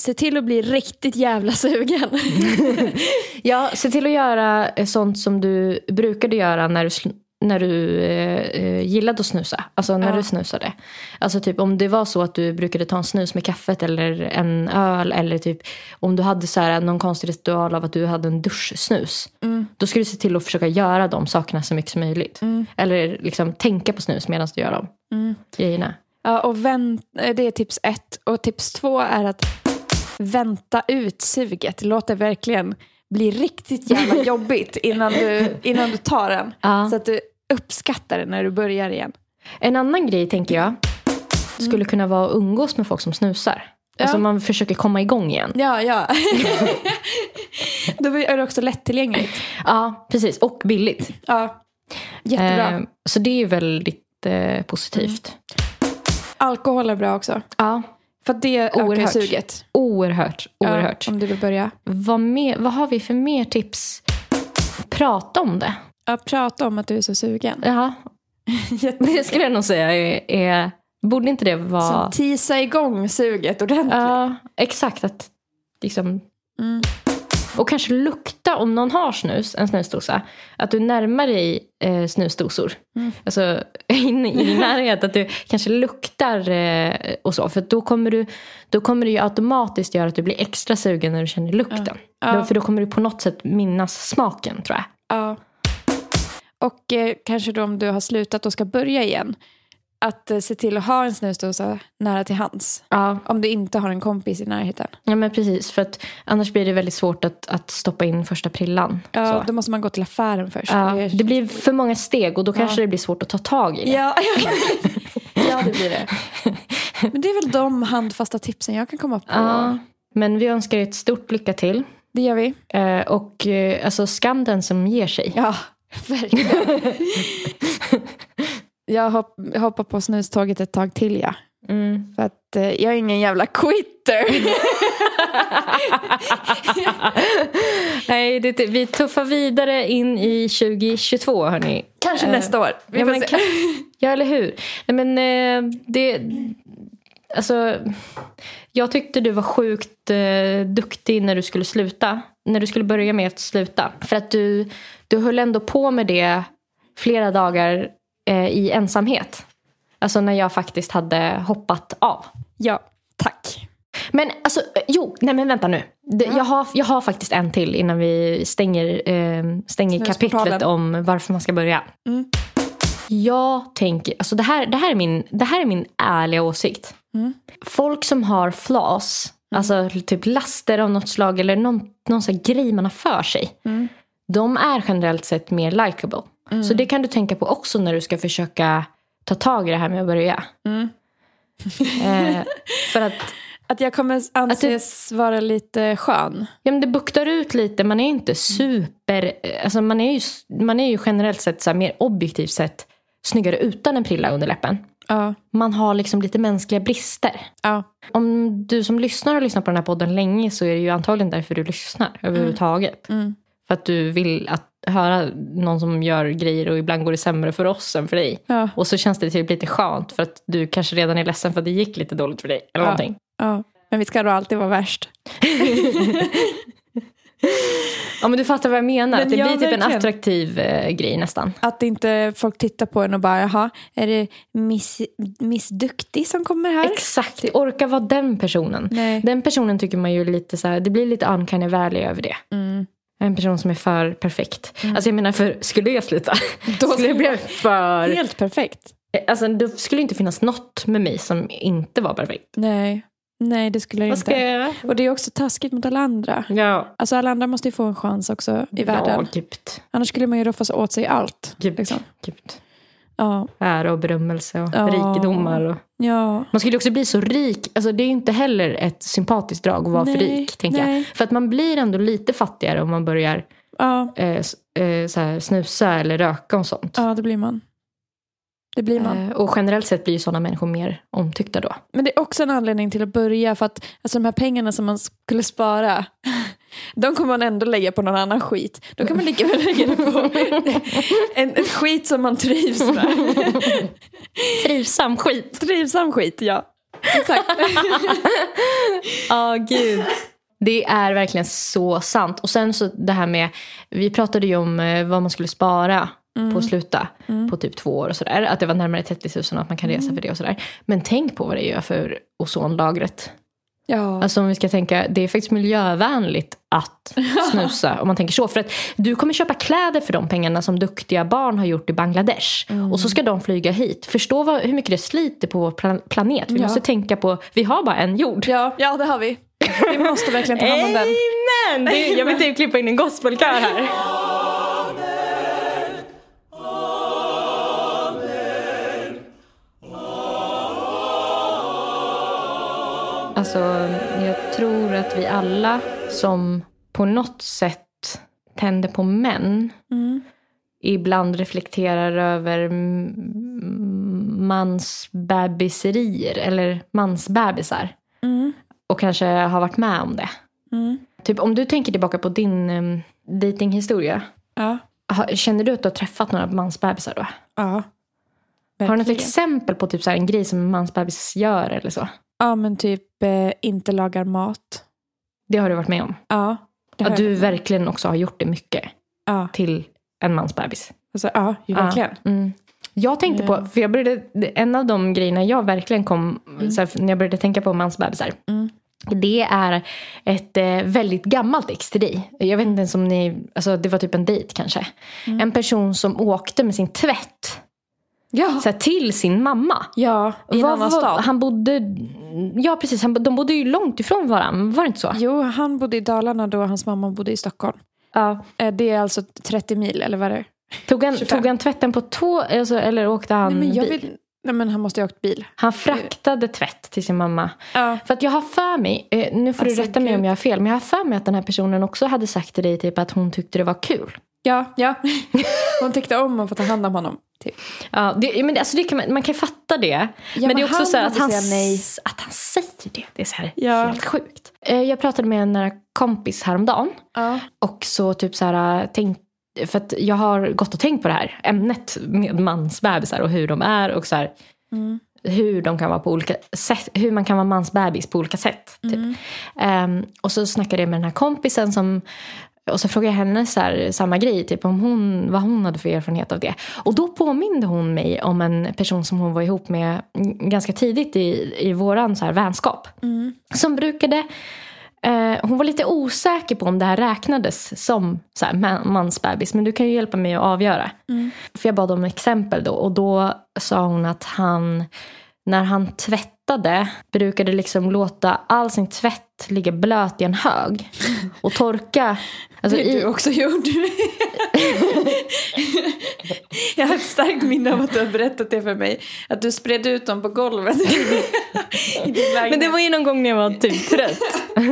Speaker 2: Se till att bli riktigt jävla sugen.
Speaker 3: Ja, se till att göra eh, sånt som du brukade göra när du, sl- när du eh, eh, gillade att snusa. Alltså när
Speaker 2: Ja.
Speaker 3: du snusade. Alltså typ om det var så att du brukade ta en snus med kaffet eller en öl. Eller typ om du hade så här någon konstig ritual av att du hade en duschsnus.
Speaker 2: Mm.
Speaker 3: Då ska du se till att försöka göra de sakerna så mycket som möjligt.
Speaker 2: Mm.
Speaker 3: Eller liksom tänka på snus medan du gör de
Speaker 2: Mm.
Speaker 3: grejerna.
Speaker 2: Ja, och vänt, eh, det är tips ett. Och tips två är att vänta ut suget. Låt det verkligen bli riktigt jävla jobbigt innan du, innan du tar den.
Speaker 3: Ja.
Speaker 2: Så att du uppskattar det när du börjar igen.
Speaker 3: En annan grej tänker jag skulle kunna vara att umgås med folk som snusar.
Speaker 2: Mm. Ja.
Speaker 3: Alltså man försöker komma igång igen.
Speaker 2: Ja, ja. Då är det också lättillgängligt.
Speaker 3: Ja, precis. Och billigt.
Speaker 2: Ja. Jättebra.
Speaker 3: Eh, så det är ju väldigt eh, positivt.
Speaker 2: Alkohol är bra också.
Speaker 3: Ja,
Speaker 2: För att det ökar
Speaker 3: Oerhört.
Speaker 2: suget.
Speaker 3: oerhört. oerhört.
Speaker 2: Ja, om du vill börja.
Speaker 3: Vad, mer, vad har vi för mer tips? Prata om det.
Speaker 2: Ja, prata om att du är så sugen.
Speaker 3: Ja,
Speaker 2: Jätte-
Speaker 3: det skulle jag nog säga är... är borde inte det
Speaker 2: Som
Speaker 3: vara...
Speaker 2: tisa igång suget ordentligt.
Speaker 3: Ja, exakt. Att liksom...
Speaker 2: Mm.
Speaker 3: Och kanske lukta om någon har snus, en snusdosa. Att du närmar dig eh, snusdosor.
Speaker 2: Mm.
Speaker 3: Alltså in i din närhet, att du kanske luktar eh, och så. För att då kommer, du, då kommer det ju automatiskt göra att du blir extra sugen när du känner lukten. Då,
Speaker 2: Ja.
Speaker 3: för då kommer du på något sätt minnas smaken tror jag.
Speaker 2: Ja. Och eh, kanske då om du har slutat och ska börja igen. Att eh, se till att ha en snusdosa nära till hands.
Speaker 3: Ja,
Speaker 2: Om du inte har en kompis i närheten.
Speaker 3: ja men precis. För att annars blir det väldigt svårt att, att stoppa in första prillan.
Speaker 2: Ja,
Speaker 3: så.
Speaker 2: då måste man gå till affären först.
Speaker 3: Ja,
Speaker 2: är-
Speaker 3: det blir för många steg och då kanske det blir svårt att ta tag i det.
Speaker 2: Ja, ja, det blir det. Men det är väl de handfasta tipsen jag kan komma på.
Speaker 3: Ja. Men vi önskar er ett stort lycka till.
Speaker 2: Det gör vi.
Speaker 3: Eh, och eh, alltså skam den som ger sig.
Speaker 2: Ja, verkligen. jag hopp, hoppar på snuståget ett tag till, ja.
Speaker 3: Mm.
Speaker 2: För att eh, jag är ingen jävla quitter.
Speaker 3: Nej, det, vi tuffar vidare in i 2022 hörni.
Speaker 2: Kanske nästa år. Vi
Speaker 3: ja,
Speaker 2: får
Speaker 3: men
Speaker 2: se.
Speaker 3: kan- ja, eller hur. Nej, men eh, det... Alltså, jag tyckte du var sjukt eh, duktig när du skulle sluta. När du skulle börja med att sluta. För att du, du höll ändå på med det flera dagar eh, i ensamhet. Alltså när jag faktiskt hade hoppat av.
Speaker 2: Ja, tack.
Speaker 3: Men alltså, eh, jo, nej men vänta nu. Det,
Speaker 2: Ja.
Speaker 3: jag, har, jag har faktiskt en till innan vi stänger, eh, stänger
Speaker 2: Snusportalen.
Speaker 3: kapitlet om varför man ska börja.
Speaker 2: Mm.
Speaker 3: Jag tänker, alltså det här, det, här är min, det här är min ärliga åsikt.
Speaker 2: Mm.
Speaker 3: Folk som har flas, alltså typ laster av något slag eller någon, någon sån här grej man har för sig.
Speaker 2: Mm.
Speaker 3: De är generellt sett mer likable. Så det kan du tänka på också när du ska försöka ta tag i det här med att börja.
Speaker 2: Mm.
Speaker 3: Eh, för att
Speaker 2: Att jag kommer anses vara lite skön.
Speaker 3: Ja, men det buktar ut lite. Man är
Speaker 2: Mm.
Speaker 3: inte super... Alltså man, är ju, man är ju generellt sett, så här, mer objektivt sett, snyggare utan en prilla under läppen.
Speaker 2: Ja.
Speaker 3: Man har liksom lite mänskliga brister.
Speaker 2: ja.
Speaker 3: Om du som lyssnar har lyssnat på den här podden länge så är det ju antagligen därför du lyssnar överhuvudtaget.
Speaker 2: Mm.
Speaker 3: För att du vill att höra någon som gör grejer och ibland går det sämre för oss än för dig.
Speaker 2: Ja.
Speaker 3: Och så känns det typ lite skönt för att du kanske redan är ledsen för att det gick lite dåligt för dig. Eller
Speaker 2: Ja.
Speaker 3: någonting.
Speaker 2: ja. Men vi ska då alltid vara värst.
Speaker 3: Ja men du fattar vad jag menar.
Speaker 2: Men
Speaker 3: att det
Speaker 2: ja,
Speaker 3: blir typ en
Speaker 2: verkligen.
Speaker 3: attraktiv eh, grej nästan.
Speaker 2: Att inte folk tittar på en och bara, jaha, är det miss, miss Duktig som kommer här?
Speaker 3: Exakt, orka vara den personen.
Speaker 2: Nej.
Speaker 3: Den personen tycker man ju lite så här, det blir lite uncanny valley över det.
Speaker 2: Mm.
Speaker 3: En person som är för perfekt. Alltså jag menar, för skulle jag sluta, då skulle jag bli för...
Speaker 2: Helt perfekt.
Speaker 3: Alltså det skulle inte finnas något med mig som inte var perfekt.
Speaker 2: Nej, Nej det skulle det
Speaker 3: Vad
Speaker 2: inte.
Speaker 3: ska jag göra?
Speaker 2: Och det är också taskigt mot alla andra.
Speaker 3: Ja,
Speaker 2: Alltså alla andra måste ju få en chans också i
Speaker 3: ja
Speaker 2: världen.
Speaker 3: gud.
Speaker 2: Annars skulle man ju roffa sig åt sig allt.
Speaker 3: Gud,
Speaker 2: Liksom.
Speaker 3: gud.
Speaker 2: Ja.
Speaker 3: Ära och berömmelse och
Speaker 2: Ja.
Speaker 3: rikedomar. Och...
Speaker 2: ja.
Speaker 3: Man skulle också bli så rik. Alltså det är ju inte heller ett sympatiskt drag att vara
Speaker 2: Nej,
Speaker 3: för rik. Tänker
Speaker 2: nej.
Speaker 3: jag. För att man blir ändå lite fattigare om man börjar
Speaker 2: Ja.
Speaker 3: eh, s- eh, så här, snusa eller röka och sånt.
Speaker 2: ja, det blir man. Det blir man.
Speaker 3: Eh, och generellt sett blir ju sådana människor mer omtyckta då.
Speaker 2: Men det är också en anledning till att börja för att alltså, de här pengarna som man skulle spara de kommer man ändå lägga på någon annan skit. Då kan man lika väl lägga det på en, en skit som man trivs med.
Speaker 3: Trivsam skit.
Speaker 2: Trivsam skit, ja. Exakt.
Speaker 3: Ja, gud. Det är verkligen så sant. Och sen så det här med, vi pratade ju om eh, vad man skulle spara på att sluta på typ två år och sådär. Att det var närmare 30 000 och att man kan resa för det och sådär. Men tänk på vad det gör för ozonlagret.
Speaker 2: Ja.
Speaker 3: Alltså om vi ska tänka, det är faktiskt miljövänligt att snusa om man tänker så. För att du kommer köpa kläder för de pengarna som duktiga barn har gjort i Bangladesh.
Speaker 2: Mm.
Speaker 3: Och så ska de flyga hit. Förstå vad, hur mycket det sliter på vår plan- planet. Vi
Speaker 2: Ja.
Speaker 3: måste tänka på, vi har bara en jord.
Speaker 2: Ja, ja, det har vi. Vi måste verkligen ta hand om den.
Speaker 3: Amen! Det, jag vill typ klippa in en gospelkör här. Alltså, jag tror att vi alla som på något sätt tänder på män
Speaker 2: Mm.
Speaker 3: ibland reflekterar över mm, mansbebiserier eller mansbebisar
Speaker 2: Mm.
Speaker 3: och kanske har varit med om det.
Speaker 2: Mm.
Speaker 3: Typ om du tänker tillbaka på din um, datinghistoria.
Speaker 2: Ja.
Speaker 3: ha- Känner du att du har träffat några mansbebisar då?
Speaker 2: ja.
Speaker 3: Har du något
Speaker 2: Verkligen.
Speaker 3: exempel på typ så här en grej som en mansbebis gör eller så?
Speaker 2: Ja, men typ eh, inte lagar mat.
Speaker 3: Det har du varit med om.
Speaker 2: Ja. det har
Speaker 3: Att du
Speaker 2: jag.
Speaker 3: verkligen också har gjort det mycket
Speaker 2: Ja.
Speaker 3: till en mansbebis.
Speaker 2: Alltså, ja, ju verkligen. Eh.
Speaker 3: Ja, mm. Jag tänkte på, för jag började, en av de grejerna jag verkligen kom, så här, när jag började tänka på mansbebisar.
Speaker 2: Mm.
Speaker 3: Det är ett eh, väldigt gammalt ex till dig. Jag vet inte ens om ni, alltså det var typ en dejt kanske.
Speaker 2: Mm.
Speaker 3: En person som åkte med sin tvätt
Speaker 2: Ja,
Speaker 3: så här, till sin mamma.
Speaker 2: ja i en
Speaker 3: Vad
Speaker 2: annan
Speaker 3: var-
Speaker 2: stad.
Speaker 3: Han bodde, ja precis, han, de bodde ju långt ifrån varandra, var det inte så?
Speaker 2: Jo, han bodde i Dalarna då hans mamma bodde i Stockholm.
Speaker 3: Ja.
Speaker 2: Eh, Det är alltså 30 mil, eller vad är det
Speaker 3: Tog, han,
Speaker 2: 25.
Speaker 3: tog han tvätten på tå, alltså, eller åkte han
Speaker 2: Nej, men jag
Speaker 3: bil?
Speaker 2: vill... Nej, men han måste ju ha åkt bil.
Speaker 3: Han fraktade tvätt till sin mamma.
Speaker 2: Ja.
Speaker 3: För att jag har för mig, eh, nu får
Speaker 2: Alltså,
Speaker 3: du rätta mig om
Speaker 2: gud.
Speaker 3: jag har fel, men jag har för mig att den här personen också hade sagt till dig typ att hon tyckte det var kul.
Speaker 2: Ja, ja. Hon tyckte om att få ta hand om honom. Typ.
Speaker 3: Ja, det, men det, alltså det kan man, man kan fatta det. men,
Speaker 2: men
Speaker 3: det är också
Speaker 2: han
Speaker 3: så här att
Speaker 2: borde
Speaker 3: han,
Speaker 2: säga nej.
Speaker 3: s- att han säger det. Det är så här
Speaker 2: Ja.
Speaker 3: helt sjukt. Eh, Jag pratade med en nära kompis häromdagen.
Speaker 2: Ja.
Speaker 3: Och så typ så här, tänk, för att jag har gått och tänkt på det här ämnet med mansbebisar och hur de är och så här,
Speaker 2: Mm.
Speaker 3: hur de kan vara på olika sätt, hur man kan vara mansbebis på olika sätt. Typ.
Speaker 2: Mm.
Speaker 3: Ehm, och så snackade jag med den här kompisen som och så frågade jag henne så här, samma grej, typ om hon, vad hon hade för erfarenhet av det. Och då påminde hon mig om en person som hon var ihop med ganska tidigt i, i våran så här vänskap.
Speaker 2: Mm.
Speaker 3: Som brukade, eh, hon var lite osäker på om det här räknades som så här, man- mansbebis. Men du kan ju hjälpa mig att avgöra.
Speaker 2: Mm.
Speaker 3: För jag bad om exempel då och då sa hon att han, när han tvättade brukade liksom låta all sin tvätt ligga blöt i en hög och torka. Alltså
Speaker 2: det du
Speaker 3: i,
Speaker 2: också gjorde. jag har ett starkt minne av att du har berättat det för mig. Att du spred ut dem på golvet. I din lägenhet.
Speaker 3: men det var ju någon gång när jag var typ trött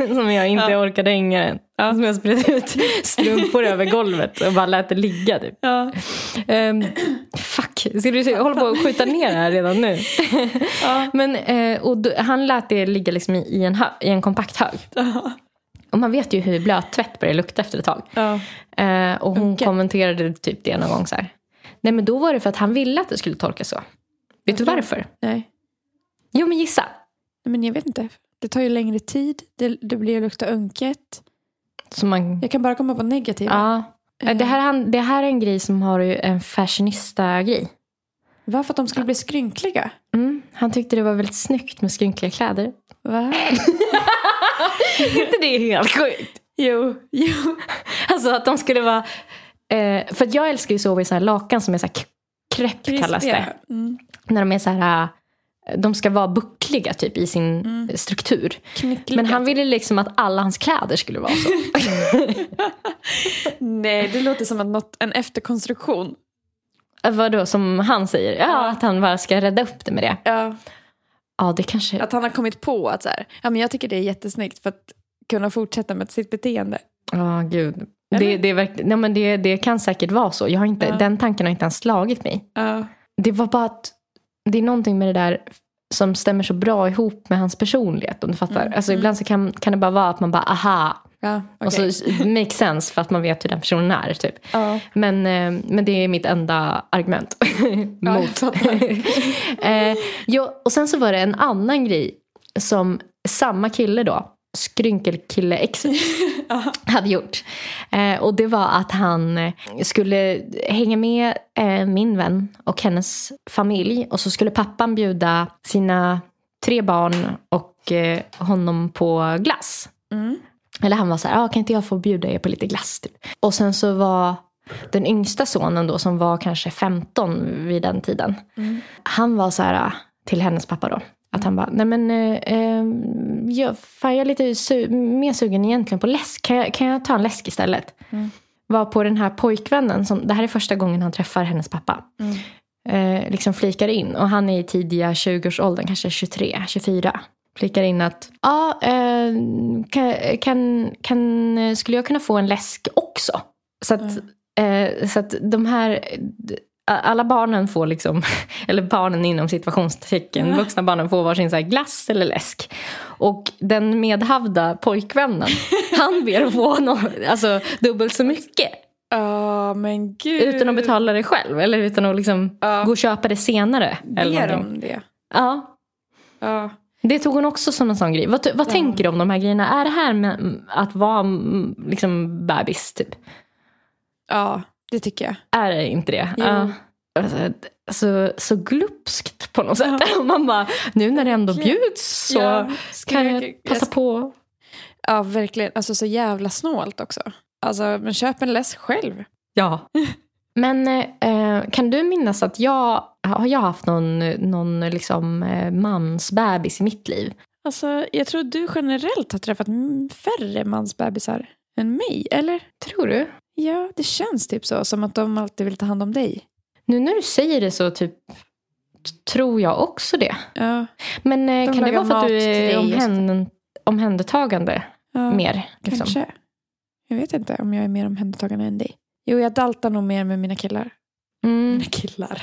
Speaker 3: som jag inte orkade hänga den. Som jag spred ut strumpor över golvet och bara lät det ligga typ.
Speaker 2: ja.
Speaker 3: Ehm, fuck, ska du se? jag håller på att skjuta ner det här redan nu.
Speaker 2: Ja.
Speaker 3: Men, eh, och då, han lät det ligga liksom i, i, en hö, i en kompakt hög. Och man vet ju hur blöt tvätt börjar lukta efter ett tag.
Speaker 2: Ja.
Speaker 3: Eh, och hon
Speaker 2: Okej.
Speaker 3: kommenterade typ det någon gång så här. Nej men då var det för att han ville att det skulle torka så. Vet du
Speaker 2: Varför?
Speaker 3: varför?
Speaker 2: Nej.
Speaker 3: Jo men gissa.
Speaker 2: Men jag vet inte. Det tar ju längre tid. Det, det blir ju lukta unket.
Speaker 3: Så man,
Speaker 2: Jag kan bara komma på negativa.
Speaker 3: ja.
Speaker 2: Eh,
Speaker 3: Det, här, han- det här är en grej som har ju en fashionista-grej.
Speaker 2: Varför att de skulle bli skrynkliga?
Speaker 3: Mm. Han tyckte det var väldigt snyggt med skrynkliga kläder.
Speaker 2: Va?
Speaker 3: inte det är helt sjukt?
Speaker 2: Jo, jo.
Speaker 3: Alltså att de skulle vara... Eh, för att jag älskar ju att sova i så här lakan som är så här krepp kallas det.
Speaker 2: Krispiga. Mm.
Speaker 3: När de är så här... eh, De ska vara buckliga typ i sin
Speaker 2: Mm.
Speaker 3: struktur.
Speaker 2: Knyckliga.
Speaker 3: Men han ville liksom att alla hans kläder skulle vara så.
Speaker 2: Nej, det låter som att något, en efterkonstruktion.
Speaker 3: Eh, Vadå, som han säger? Ja, att han bara ska rädda upp det med det.
Speaker 2: Ja.
Speaker 3: Ja, det kanske...
Speaker 2: Att han har kommit på att så här, ja, men jag tycker det är jättesnyggt för att kunna fortsätta med sitt beteende.
Speaker 3: Ja, gud.
Speaker 2: Eller?
Speaker 3: Det, det, är verkligen- nej, men det, det kan säkert vara så. Jag har inte,
Speaker 2: Ja.
Speaker 3: Den tanken har inte ens slagit mig.
Speaker 2: Ja.
Speaker 3: Det var bara att det är någonting med det där som stämmer så bra ihop med hans personlighet. Om du fattar.
Speaker 2: Mm,
Speaker 3: Alltså
Speaker 2: mm.
Speaker 3: ibland så kan, kan det bara vara att man bara aha.
Speaker 2: Ja,
Speaker 3: Och så
Speaker 2: okej.
Speaker 3: s- makes sense för att man vet hur den personen är. Typ.
Speaker 2: ja.
Speaker 3: Men, eh, men det är mitt enda argument
Speaker 2: Ja,
Speaker 3: mot. eh, jo, och sen så var det en annan grej som samma kille då, skrynkelkille ex hade gjort. Eh, och det var att han eh, skulle hänga med eh, min vän och hennes familj och så skulle pappan bjuda sina tre barn och eh, honom på glass.
Speaker 2: Mm.
Speaker 3: Eller han var så här, ah, kan inte jag få bjuda er på lite glass? Typ. Och sen så var den yngsta sonen då som var kanske 15 vid den tiden.
Speaker 2: Mm.
Speaker 3: Han var så här ah, till hennes pappa då. Att han bara, nej men eh, eh, jag, fan, jag är lite su- mer sugen egentligen på läsk. Kan jag, kan jag ta en läsk istället?
Speaker 2: Mm.
Speaker 3: Var på den här pojkvännen, som, det här är första gången han träffar hennes pappa.
Speaker 2: Mm.
Speaker 3: Eh, liksom flikar in, och han är i tidiga 20-årsåldern, kanske 23, 24 flikar in att ja, eh, kan, kan, kan, eh, skulle jag kunna få en läsk också? Så att, eh, så att de här, eh, d- alla barnen får liksom, eller barnen inom situationstecken, vuxna barnen får varsin så här glass eller läsk. Och den medhavda pojkvännen, han ber att få någon, alltså, dubbelt så mycket.
Speaker 2: Ja, men gud.
Speaker 3: Utan att betala det själv, eller utan att liksom
Speaker 2: Ja.
Speaker 3: gå och köpa det senare. Eller
Speaker 2: Ber
Speaker 3: någonting.
Speaker 2: de det?
Speaker 3: Ja,
Speaker 2: Ja.
Speaker 3: det tog hon också som en sån grej. Vad, vad
Speaker 2: Ja.
Speaker 3: tänker du om de här grejerna? Är det här med mm, att vara mm, liksom, bebis? Typ?
Speaker 2: ja. Det tycker jag.
Speaker 3: Är det inte det?
Speaker 2: Jo.
Speaker 3: Ja. Alltså, så, så glupskt på något sätt. Man bara, nu när det ändå
Speaker 2: Verkligen.
Speaker 3: bjuds så
Speaker 2: Ja,
Speaker 3: kan
Speaker 2: jag-
Speaker 3: jag passa på.
Speaker 2: Ja, verkligen. Alltså så jävla snålt också. Alltså, men köp en läsk själv.
Speaker 3: Ja. Men eh, kan du minnas att jag har jag haft någon, någon liksom, eh, mansbebis i mitt liv?
Speaker 2: Alltså, jag tror du generellt har träffat m- färre mansbebisar än mig, eller?
Speaker 3: Tror du?
Speaker 2: Ja, det känns typ så. Som att de alltid vill ta hand om dig.
Speaker 3: Nu när du säger det så typ t- tror jag också det.
Speaker 2: Ja.
Speaker 3: Men eh,
Speaker 2: De
Speaker 3: kan det
Speaker 2: lagar
Speaker 3: vara för att
Speaker 2: mat
Speaker 3: du
Speaker 2: till dig
Speaker 3: är
Speaker 2: och sånt.
Speaker 3: omhän, omhändertagande
Speaker 2: ja.
Speaker 3: mer? Liksom.
Speaker 2: Kanske. Jag vet inte om jag är mer omhändertagande än dig. Jo, jag daltar nog mer med mina killar.
Speaker 3: Mm.
Speaker 2: Mina killar.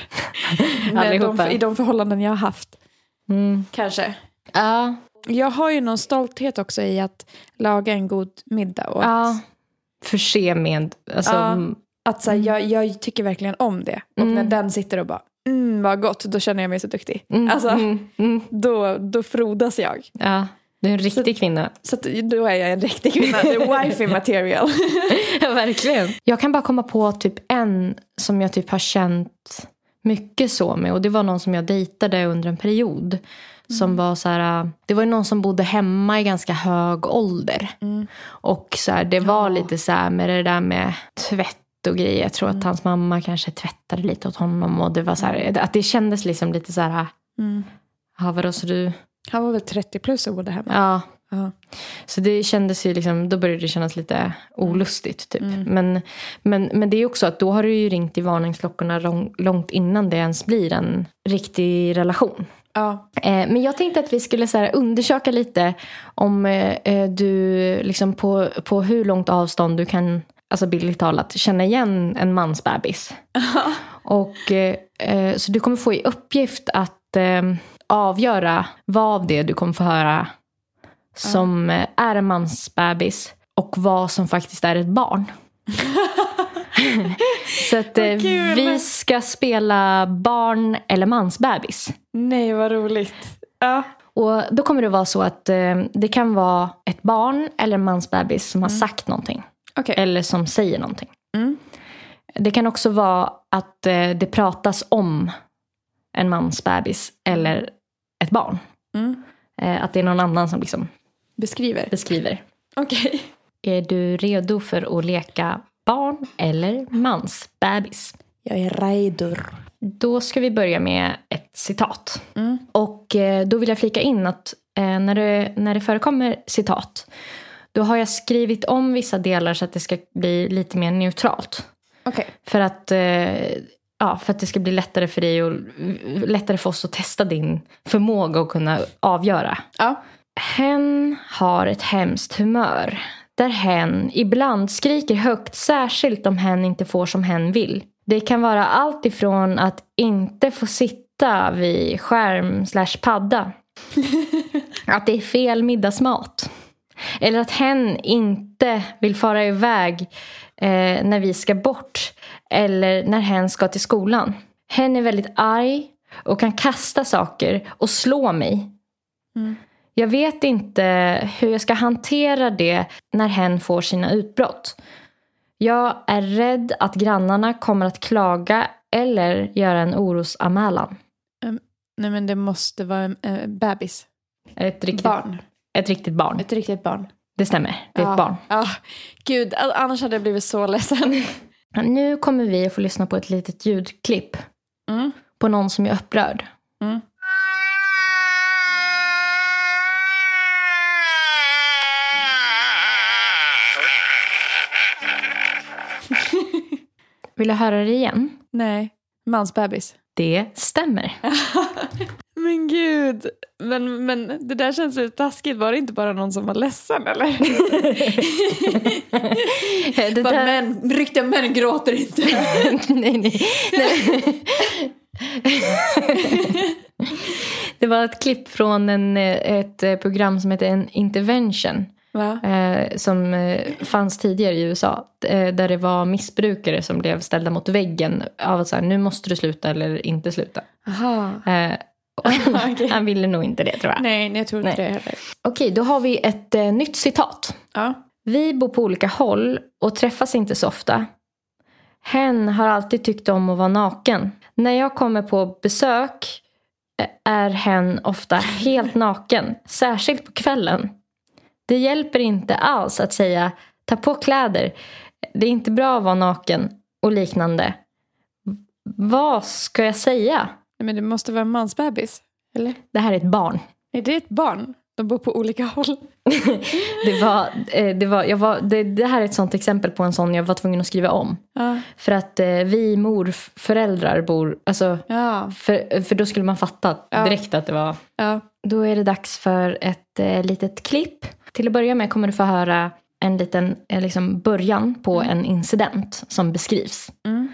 Speaker 2: med de,
Speaker 3: Allihopa.
Speaker 2: I de förhållanden jag har haft.
Speaker 3: Mm.
Speaker 2: Kanske.
Speaker 3: Ja.
Speaker 2: Jag har ju någon stolthet också i att laga en god middag. Och
Speaker 3: ja.
Speaker 2: att,
Speaker 3: Förse med... Alltså,
Speaker 2: Ja.
Speaker 3: mm,
Speaker 2: att så här, jag, jag tycker verkligen om det. Och
Speaker 3: Mm.
Speaker 2: när den sitter och bara, mm vad gott, då känner jag mig så duktig.
Speaker 3: mm,
Speaker 2: Alltså,
Speaker 3: mm, mm.
Speaker 2: då, då frodas jag.
Speaker 3: Ja. Du är en riktig kvinna.
Speaker 2: Så att, då är jag en riktig kvinna. Det är wifey material.
Speaker 3: Ja, verkligen. Jag kan bara komma på typ en som jag typ har känt mycket så med. Och det var någon som jag dejtade under en period.
Speaker 2: Mm.
Speaker 3: Som var så här, äh, det var ju någon som bodde hemma i ganska hög ålder.
Speaker 2: Mm.
Speaker 3: Och så här, det var lite så här med det där med tvätt och grejer. Jag tror att hans mamma kanske tvättade lite åt honom. Och det var så här, att det kändes liksom lite så här,
Speaker 2: Mm.
Speaker 3: ja vadå så du,
Speaker 2: Han var väl 30 plus och bodde hemma.
Speaker 3: ja
Speaker 2: Ja.
Speaker 3: så det kändes ju liksom, då började det kännas lite olustigt typ.
Speaker 2: Mm.
Speaker 3: Men, men, men det är ju också att då har du ju ringt i varningsklockorna lång, långt innan det ens blir en riktig relation.
Speaker 2: Ja.
Speaker 3: Eh, men jag tänkte att vi skulle så här, undersöka lite om eh, eh, du liksom på, på hur långt avstånd du kan, alltså bildligt talat, känna igen en mansbebis. Och, eh, eh, så du kommer få i uppgift att eh, avgöra vad av det du kommer få höra som eh, är en mansbebis och vad som faktiskt är ett barn. så att eh,
Speaker 2: Vad kul.
Speaker 3: vi ska spela barn eller mansbebis.
Speaker 2: Nej, vad roligt. Ja.
Speaker 3: Och då kommer det vara så att eh, det kan vara ett barn eller en mansbebis som har sagt någonting.
Speaker 2: Okej.
Speaker 3: Eller som säger någonting.
Speaker 2: Mm.
Speaker 3: Det kan också vara att eh, det pratas om en mansbebis eller ett barn.
Speaker 2: Mm.
Speaker 3: Eh, att det är någon annan som liksom
Speaker 2: Beskriver.
Speaker 3: beskriver.
Speaker 2: Okej.
Speaker 3: Är du redo för att leka barn eller mansbebis?
Speaker 2: Jag är redo.
Speaker 3: Då ska vi börja med ett citat.
Speaker 2: Mm.
Speaker 3: Och eh, då vill jag flika in att eh, när det, när det förekommer citat då har jag skrivit om vissa delar så att det ska bli lite mer neutralt.
Speaker 2: Okej.
Speaker 3: För att, eh, ja, för att det ska bli lättare för dig och eh, lättare för oss att testa din förmåga att kunna avgöra.
Speaker 2: Ja.
Speaker 3: Hen har ett hemskt humör. Där hen ibland skriker högt, särskilt om hen inte får som hen vill. Det kan vara allt ifrån att inte få sitta vid skärm slash padda. Att det är fel middagsmat. Eller att hen inte vill fara iväg eh, när vi ska bort. Eller när hen ska till skolan. Hen är väldigt arg och kan kasta saker och slå mig jag vet inte hur jag ska hantera det när hen får sina utbrott. Jag är rädd att grannarna kommer att klaga eller göra en orosanmälan.
Speaker 2: Nej, men det måste vara en eh, bebis.
Speaker 3: Ett riktigt
Speaker 2: Barn.
Speaker 3: Ett riktigt barn.
Speaker 2: Ett riktigt barn.
Speaker 3: Det stämmer. Det är
Speaker 2: ja.
Speaker 3: ett barn.
Speaker 2: Ja. Gud, all- annars hade jag blivit så ledsen.
Speaker 3: Nu kommer vi att få lyssna på ett litet ljudklipp
Speaker 2: Mm.
Speaker 3: på någon som är upprörd.
Speaker 2: Mm.
Speaker 3: Vill du höra det igen?
Speaker 2: Nej. Mansbebis.
Speaker 3: Det stämmer.
Speaker 2: Men gud. Men, men det där känns lite taskigt. Var det inte bara någon som var ledsen eller?
Speaker 3: Eh, Det
Speaker 2: Bara,
Speaker 3: där-
Speaker 2: män, riktiga män gråter inte.
Speaker 3: nej, nej. nej. det var ett klipp från en, eh, ett eh, program som heter en Intervention.
Speaker 2: Va?
Speaker 3: Eh, som eh, fanns tidigare i USA. Eh, där det var missbrukare som blev ställda mot väggen. Av att så här, nu måste du sluta eller inte sluta.
Speaker 2: Aha.
Speaker 3: Eh, och
Speaker 2: Okej.
Speaker 3: Han ville nog inte det tror jag.
Speaker 2: Nej, nej, jag tror inte
Speaker 3: Nej.
Speaker 2: det heller.
Speaker 3: Okej, då har vi ett eh, nytt citat.
Speaker 2: Ja.
Speaker 3: Vi bor på olika håll och träffas inte så ofta. Hen har alltid tyckt om att vara naken. När jag kommer på besök eh, är hen ofta helt naken. Särskilt på kvällen. Det hjälper inte alls att säga ta på kläder. Det är inte bra att vara naken och liknande. Vad ska jag säga?
Speaker 2: Nej, Men det måste vara en mansbebis, eller?
Speaker 3: Det här är ett barn.
Speaker 2: Är det ett barn? De bor på olika håll.
Speaker 3: Det, var, eh, det, var, jag var, det, det här är ett sånt exempel på en sån jag var tvungen att skriva om.
Speaker 2: Ja.
Speaker 3: För att eh, vi morföräldrar bor... Alltså,
Speaker 2: Ja.
Speaker 3: för, för då skulle man fatta
Speaker 2: Ja.
Speaker 3: direkt att det var...
Speaker 2: ja.
Speaker 3: Då är det dags för ett eh, litet klipp. Till att börja med kommer du få höra en liten eh, liksom början på en incident som beskrivs.
Speaker 2: Mm.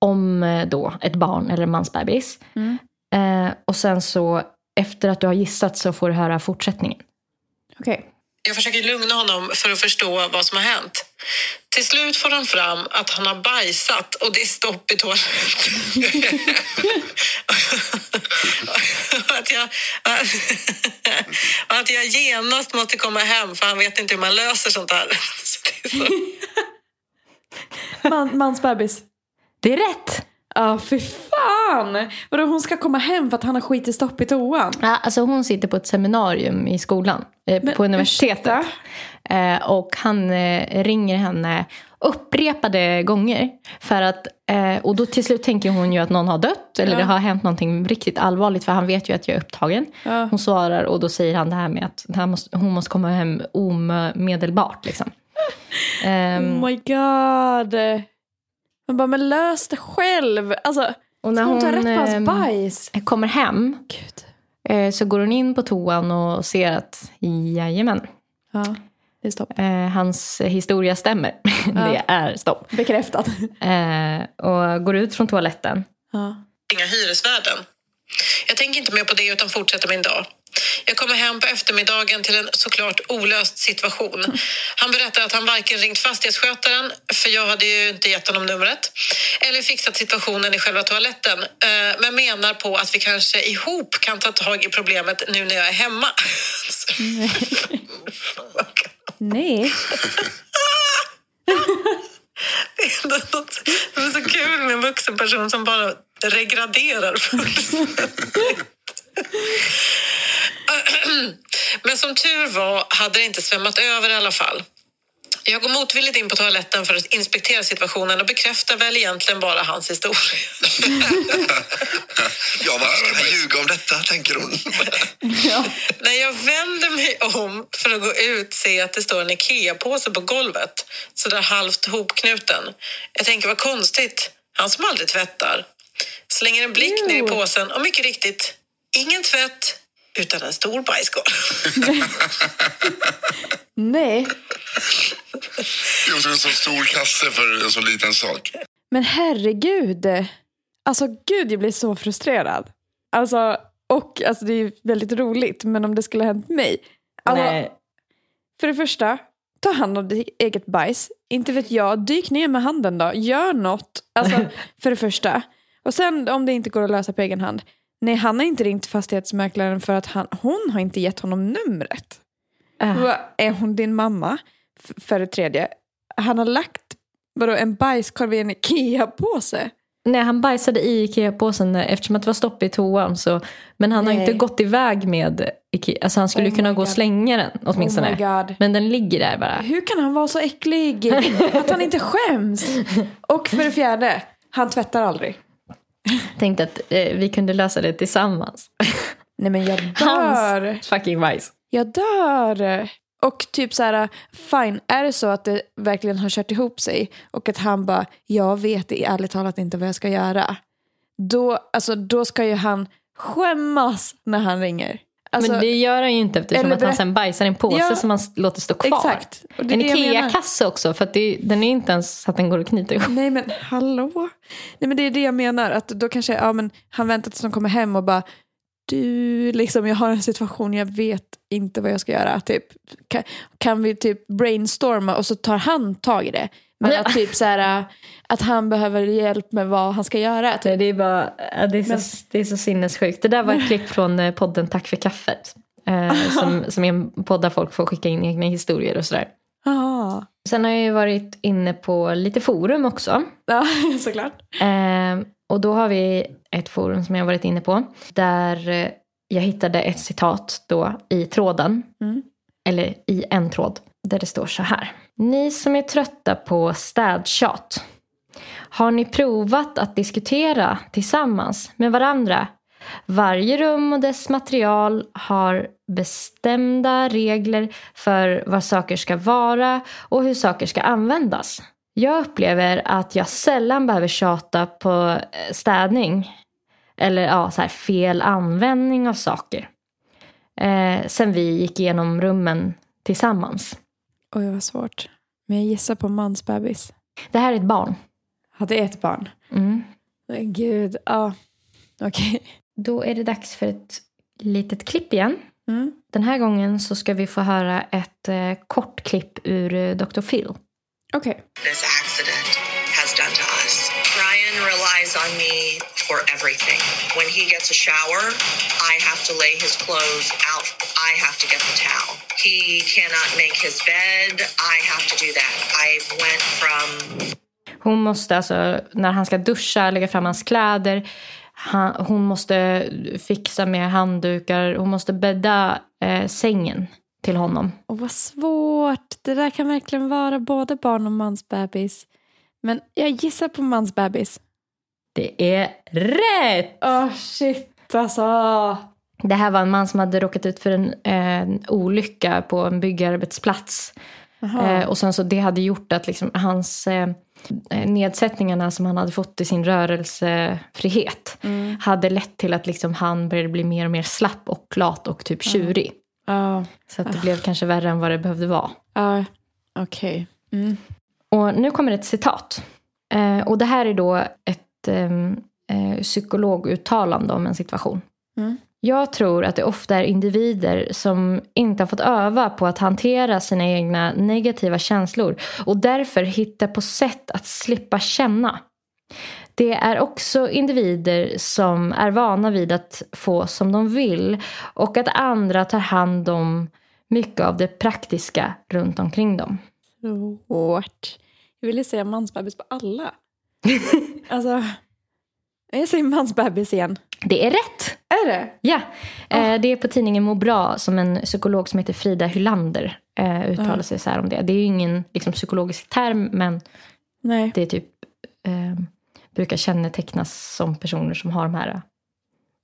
Speaker 3: Om eh, då ett barn eller en mansbebis.
Speaker 2: Mm.
Speaker 3: Eh, och sen så efter att du har gissat så får du höra fortsättningen.
Speaker 2: Okej.
Speaker 5: Jag försöker lugna honom för att förstå vad som har hänt. Till slut får han fram att han har bajsat och det är stopp i toaletten. att, jag, att jag genast måste komma hem för han vet inte hur man löser sånt här. Så det är så.
Speaker 2: Man, mansbebis.
Speaker 3: Det är rätt!
Speaker 2: Ja, fy fan! Vadå, hon ska komma hem för att han har skit i stopp i toan?
Speaker 3: Ja, alltså hon sitter på ett seminarium i skolan. Eh,
Speaker 2: Men
Speaker 3: på universitetet.
Speaker 2: ursäkta?
Speaker 3: Eh, och han eh, ringer henne upprepade gånger. För att, eh, och då till slut tänker hon ju att någon har dött eller
Speaker 2: Ja.
Speaker 3: det har hänt någonting riktigt allvarligt för han vet ju att jag är upptagen.
Speaker 2: Ja.
Speaker 3: Hon svarar och då säger han det här med att det här måste, hon måste komma hem omedelbart. Liksom. Ehm,
Speaker 2: Oh my god. Man bara, men lös det själv. Alltså,
Speaker 3: och
Speaker 2: ska
Speaker 3: när
Speaker 2: hon ta rätt på
Speaker 3: ehm,
Speaker 2: hans bajs?
Speaker 3: kommer hem
Speaker 2: Gud.
Speaker 3: eh, så går hon in på toan och ser att jajamän,
Speaker 2: Ja, det är stopp.
Speaker 3: eh, hans historia stämmer. det är stopp.
Speaker 2: Bekräftat.
Speaker 3: Eh, och går ut från toaletten.
Speaker 2: Ja.
Speaker 5: ringa hyresvärden. Jag tänker inte mer på det utan fortsätter min dag. Jag kommer hem på eftermiddagen till en såklart olöst situation. Han berättar att han varken ringt fastighetsskötaren, för jag hade ju inte gett honom numret, eller fixat situationen i själva toaletten, eh, men menar på att vi kanske ihop kan ta tag i problemet nu när jag är hemma.
Speaker 2: Nej.
Speaker 5: Det är ändå något som är så kul med en vuxen person som bara regraderar fullständigt. Men som tur var hade det inte svämmat över i alla fall. Jag går motvilligt in på toaletten för att inspektera situationen och bekräftar väl egentligen bara hans historia.
Speaker 6: Ja, varför ska jag ljuga om detta, tänker hon.
Speaker 5: När jag vänder mig om för att gå ut ser jag att det står en IKEA-påse på golvet, sådär halvt hopknuten. Jag tänker vad konstigt, han som aldrig tvättar. Slänger en blick ner i påsen och mycket riktigt, ingen tvätt utan en stor bajskorv.
Speaker 2: Nej.
Speaker 6: Det är också en så stor kasse för en så liten sak.
Speaker 2: Men herregud. Alltså gud, jag blir så frustrerad. Alltså, och alltså, det är ju väldigt roligt, men om det skulle ha hänt mig. Alltså,
Speaker 3: Nej.
Speaker 2: För det första, ta hand om ditt eget bajs. Inte vet jag, dyk ner med handen då. Gör något. Alltså, för det första. Och sen om det inte går att lösa på egen hand. Nej, han har inte ringt fastighetsmäklaren för att han, hon har inte gett honom numret.
Speaker 3: Ah.
Speaker 2: Vad Är hon din mamma? F- för det tredje, han har lagt vadå, en bajskorv i en Ikea-påse.
Speaker 3: Nej, han bajsade i Ikea-påsen eftersom att det var stopp i toan. Så, men han har
Speaker 2: Nej.
Speaker 3: inte gått iväg med Ikea. Alltså han skulle
Speaker 2: Oh
Speaker 3: ju kunna
Speaker 2: my
Speaker 3: gå och
Speaker 2: God.
Speaker 3: slänga den åtminstone.
Speaker 2: Oh my god.
Speaker 3: men den ligger där bara.
Speaker 2: Hur kan han vara så äcklig? Att han inte skäms. Och för det fjärde, han tvättar aldrig.
Speaker 3: Tänkte att eh, vi kunde lösa det tillsammans.
Speaker 2: Nej men jag dör.
Speaker 3: Hans fucking bajs.
Speaker 2: Jag dör! Och typ så här, fine, är det så att det verkligen har kört ihop sig och att han bara, jag vet i ärligt talat inte vad jag ska göra. Då, alltså, då ska ju han skämmas när han ringer. Alltså,
Speaker 3: men det gör han ju inte eftersom
Speaker 2: eller
Speaker 3: att han
Speaker 2: berätt-
Speaker 3: sen bajsar i en påse
Speaker 2: Ja.
Speaker 3: som han s- låter stå kvar.
Speaker 2: Exakt. Och det är
Speaker 3: en
Speaker 2: det jag menar.
Speaker 3: Ikea-kasse också för att det, den är inte ens så att den går att knyta ihop.
Speaker 2: Nej men hallå? Nej men det är det jag menar, att då kanske ja, men han väntar tills de kommer hem och bara, du, liksom, jag har en situation, jag vet inte vad jag ska göra. Typ, kan, kan vi typ brainstorma och så tar han tag i det. Men att, typ, så här, att han behöver hjälp med vad han ska göra. Typ.
Speaker 3: Det är, bara, ja, det, är så, det är så sinnessjukt. Det där var ett klipp från eh, podden Tack för kaffet. Eh, som, som är en podd där folk får skicka in egna historier och sådär.
Speaker 2: Ah,
Speaker 3: Sen har jag ju varit inne på lite forum också.
Speaker 2: Ja, såklart.
Speaker 3: Eh, och då har vi ett forum som jag varit inne på. Där eh, jag hittade ett citat då i tråden.
Speaker 2: Mm.
Speaker 3: Eller i en tråd. Där det står så här. Ni som är trötta på städtjat. Har ni provat att diskutera tillsammans med varandra? Varje rum och dess material har bestämda regler för vad saker ska vara och hur saker ska användas. Jag upplever att jag sällan behöver tjata på eh, städning. Eller ja, så här, fel användning av saker. Eh, sen vi gick igenom rummen tillsammans.
Speaker 2: Oj, vad svårt. Men jag gissar på mansbebis.
Speaker 3: Det här är ett barn.
Speaker 2: Ja, det är ett barn.
Speaker 3: Mm.
Speaker 2: Men gud, ja. Okej.
Speaker 3: Då är det dags för ett litet klipp igen.
Speaker 2: Mm.
Speaker 3: Den här gången så ska vi få höra ett eh, kort klipp ur eh, Dr. Phil.
Speaker 2: Okej.
Speaker 7: this accident has done to us. Ryan relies on me for everything. When he gets a shower, I have to lay his clothes out. I have to get the towel. He cannot make his bed. I have to do that. I went from
Speaker 3: Hon måste alltså, när han ska duscha, lägga fram hans kläder. Han, hon måste fixa med handdukar. Hon måste bädda eh, sängen till honom.
Speaker 2: Och vad svårt. Det där kan verkligen vara både barn och mansbebis. Men jag gissar på mansbebis.
Speaker 3: Det är rätt!
Speaker 2: Åh, shit alltså.
Speaker 3: Det här var en man som hade råkat ut för en, en olycka på en byggarbetsplats. Eh, och sen så det hade gjort att liksom hans eh, nedsättningarna som han hade fått i sin rörelsefrihet
Speaker 2: Mm.
Speaker 3: hade lett till att liksom han började bli mer och mer slapp och lat och typ tjurig.
Speaker 2: Ja,
Speaker 3: Så att det blev kanske värre än vad det behövde vara.
Speaker 2: ja, okej. Mm.
Speaker 3: Och nu kommer ett citat. Eh, och det här är då ett ehm, eh, psykologuttalande om en situation.
Speaker 2: Mm.
Speaker 3: Jag tror att det ofta är individer som inte har fått öva på att hantera sina egna negativa känslor och därför hittar på sätt att slippa känna. Det är också individer som är vana vid att få som de vill och att andra tar hand om mycket av det praktiska runt omkring dem.
Speaker 2: Svårt. Jag ville säga mansbebis på alla. alltså, jag säger mansbebis igen.
Speaker 3: Det är rätt!
Speaker 2: Är det?
Speaker 3: Ja, eh, det är på tidningen Må bra som en psykolog som heter Frida Hylander eh, uttalar
Speaker 2: Ja.
Speaker 3: sig så här om det. Det är ju ingen liksom, psykologisk term men
Speaker 2: Nej.
Speaker 3: det är typ, eh, brukar kännetecknas som personer som har de här, den här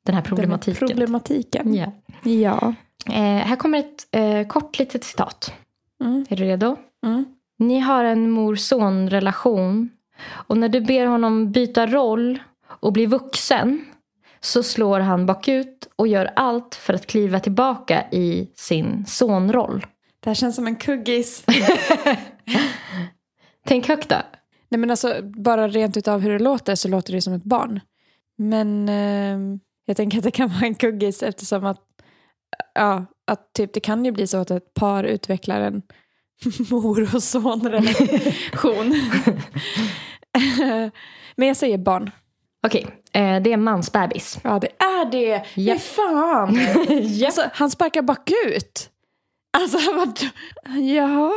Speaker 2: Den här
Speaker 3: problematiken.
Speaker 2: Problematiken.
Speaker 3: ja.
Speaker 2: Ja.
Speaker 3: eh, här kommer ett eh, kort litet citat.
Speaker 2: Mm.
Speaker 3: Är du redo?
Speaker 2: Mm.
Speaker 3: Ni har en mor-son-relation och när du ber honom byta roll och bli vuxen så slår han bakut och gör allt för att kliva tillbaka i sin sonroll.
Speaker 2: Det här känns som en kuggis.
Speaker 3: Tänk högt då.
Speaker 2: Nej men alltså bara rent utav hur det låter så låter det som ett barn. Men ehm, jag tänker att det kan vara en kuggis eftersom att, ja, att typ, det kan ju bli så att ett par utvecklar en mor och son-relation. men jag säger barn.
Speaker 3: Okej, eh, det är mansbebis.
Speaker 2: Ja det är det.
Speaker 3: Ja.
Speaker 2: Fy fan.
Speaker 3: ja.
Speaker 2: Alltså, han sparkar bakut. Alltså vad... Ja.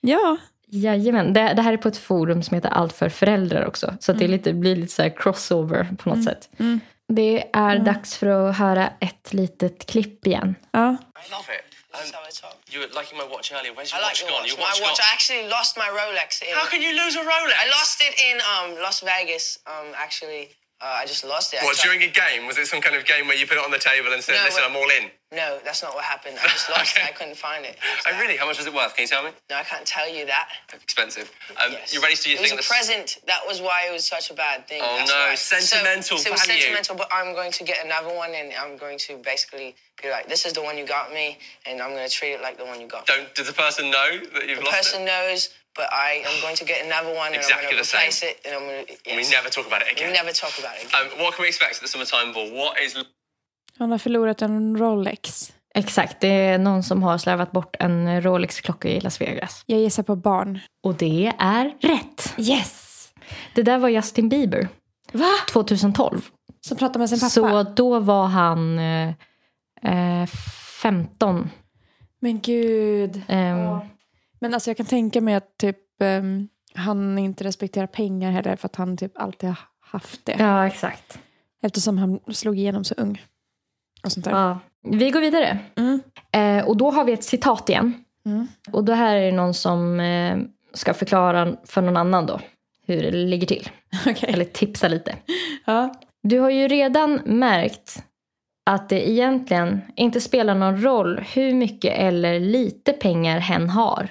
Speaker 2: Ja.
Speaker 3: Jajamän, det, det här är på ett forum som heter Allt för föräldrar också. Så att det är lite, blir lite så här crossover på något sätt.
Speaker 2: Mm.
Speaker 3: Det är dags för att höra ett litet klipp igen.
Speaker 2: ja.
Speaker 8: I love it. Um, you were liking my watch earlier. Where's your
Speaker 7: I like
Speaker 8: watch
Speaker 7: your
Speaker 8: gone?
Speaker 7: watch.
Speaker 8: Your
Speaker 7: My
Speaker 8: watch
Speaker 7: watch.
Speaker 8: gone.
Speaker 7: I actually lost my Rolex. In,
Speaker 8: How can you lose a Rolex?
Speaker 7: I lost it in um, Las Vegas. Um, actually, uh, I just lost it. I
Speaker 8: What,
Speaker 7: tried-
Speaker 8: during a game? Was it some kind of game where you put it on the table and said,
Speaker 7: No,
Speaker 8: listen,
Speaker 7: but-
Speaker 8: I'm all in?
Speaker 7: No, that's not what happened. I just lost
Speaker 8: Okay.
Speaker 7: it. I couldn't find it.
Speaker 8: Oh, really? How much was it worth? Can you tell me?
Speaker 7: No, I can't tell you that.
Speaker 8: Expensive. Um,
Speaker 7: Yes.
Speaker 8: You raised to your
Speaker 7: It was
Speaker 8: thing
Speaker 7: a
Speaker 8: that's-
Speaker 7: present. That was why it was such a bad thing.
Speaker 8: Oh,
Speaker 7: That's
Speaker 8: no,
Speaker 7: why.
Speaker 8: sentimental
Speaker 7: so, so it was
Speaker 8: value.
Speaker 7: sentimental, but I'm going to get another one, and I'm going to basically be like, "This is the one you got me, and I'm going to treat it like the one you got." me."
Speaker 8: Don't, does the person know that you've
Speaker 7: the
Speaker 8: lost
Speaker 7: person
Speaker 8: it?
Speaker 7: knows, but I am going to get another one, and I'm
Speaker 8: Exactly
Speaker 7: going
Speaker 8: the
Speaker 7: to replace
Speaker 8: same.
Speaker 7: it, and I'm going to.
Speaker 8: And We never talk about it
Speaker 7: We
Speaker 8: again.
Speaker 7: never talk about it. Again.
Speaker 8: Um, what can we expect at the summertime ball? What is
Speaker 2: Han har förlorat en Rolex.
Speaker 3: Exakt, det är någon som har slarvat bort en Rolex-klocka i Las Vegas.
Speaker 2: Jag gissar på barn.
Speaker 3: Och det är rätt.
Speaker 2: Yes!
Speaker 3: Det där var Justin Bieber
Speaker 2: Va?
Speaker 3: 2012.
Speaker 2: Som pratar med sin pappa?
Speaker 3: Så då var han eh, eh, 15.
Speaker 2: Men gud.
Speaker 3: Ehm,
Speaker 2: Ja. Men alltså jag kan tänka mig att typ ehm, han inte respekterar pengar heller för att han typ alltid har haft det.
Speaker 3: Ja, exakt.
Speaker 2: Eftersom han slog igenom så ung. Och sånt där.
Speaker 3: Ja. Vi går vidare.
Speaker 2: Mm.
Speaker 3: Eh, och då har vi ett citat igen.
Speaker 2: Mm.
Speaker 3: Och det här är någon som eh, ska förklara för någon annan då hur det ligger till.
Speaker 2: Okej.
Speaker 3: Eller tipsa lite.
Speaker 2: Ja.
Speaker 3: Du har ju redan märkt att det egentligen inte spelar någon roll hur mycket eller lite pengar hen har.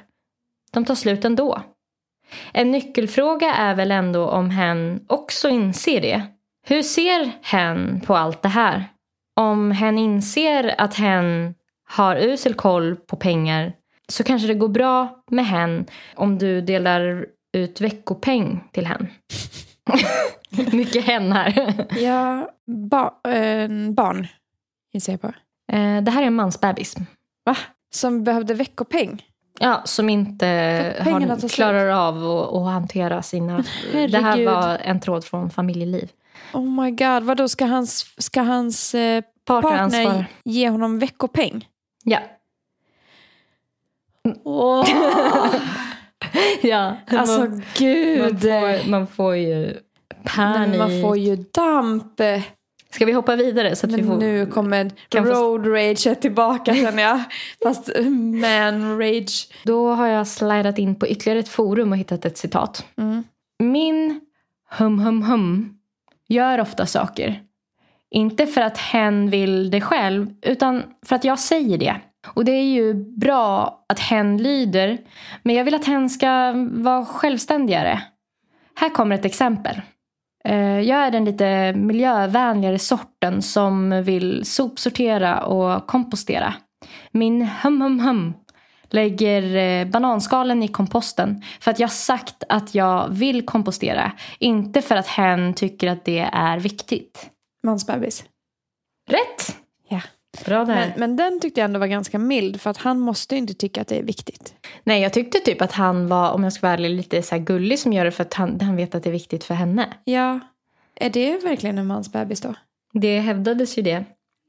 Speaker 3: De tar slut ändå. En nyckelfråga är väl ändå om hen också inser det. Hur ser hen på allt det här? Om hen inser att hen har usel koll på pengar så kanske det går bra med hen om du delar ut veckopeng till hen. Mycket hen här.
Speaker 2: Ja, ba- eh, barn gissar jag på.
Speaker 3: Eh, Det här är en mansbebis.
Speaker 2: Va? Som behövde veckopeng?
Speaker 3: Ja, som inte
Speaker 2: För pengarna tar
Speaker 3: har,
Speaker 2: slut.
Speaker 3: klarar av att, att hantera sina... Det här
Speaker 2: herregud.
Speaker 3: var en tråd från familjeliv.
Speaker 2: Oh my god, vadå ska hans, ska hans eh,
Speaker 3: Partneransvar.
Speaker 2: partner ge honom veckopeng?
Speaker 3: Ja. ja.
Speaker 2: Alltså
Speaker 3: man, man,
Speaker 2: gud.
Speaker 3: får, man får ju
Speaker 2: Nej,
Speaker 3: panik.
Speaker 2: men man får ju damp.
Speaker 3: Ska vi hoppa vidare? Så att vi
Speaker 2: Men
Speaker 3: får...
Speaker 2: nu kommer
Speaker 3: Kan få-
Speaker 2: road rage tillbaka känner jag. Fast eh, man rage.
Speaker 3: Då har jag slidat in på ytterligare ett forum och hittat ett citat.
Speaker 2: Mm.
Speaker 3: Min hum hum hum gör ofta saker. Inte för att hen vill det själv, utan för att jag säger det. Och det är ju bra att hen lyder, men jag vill att hen ska vara självständigare. Här kommer ett exempel. Eh, Jag är den lite miljövänligare sorten som vill sopsortera och kompostera. Min hum hum hum lägger eh, bananskalen i komposten för att jag sagt att jag vill kompostera. Inte för att hen tycker att det är viktigt.
Speaker 2: Mansbebis.
Speaker 3: Rätt!
Speaker 2: Ja.
Speaker 3: Bra där.
Speaker 2: Men, men den tyckte jag ändå var ganska mild för att han måste ju inte tycka att det är viktigt.
Speaker 3: Nej, jag tyckte typ att han var, om jag ska vara ärlig, lite så här gullig som gör det för att han, han vet att det är viktigt för henne.
Speaker 2: Ja, är det verkligen en mansbebis då?
Speaker 3: Det hävdades ju det.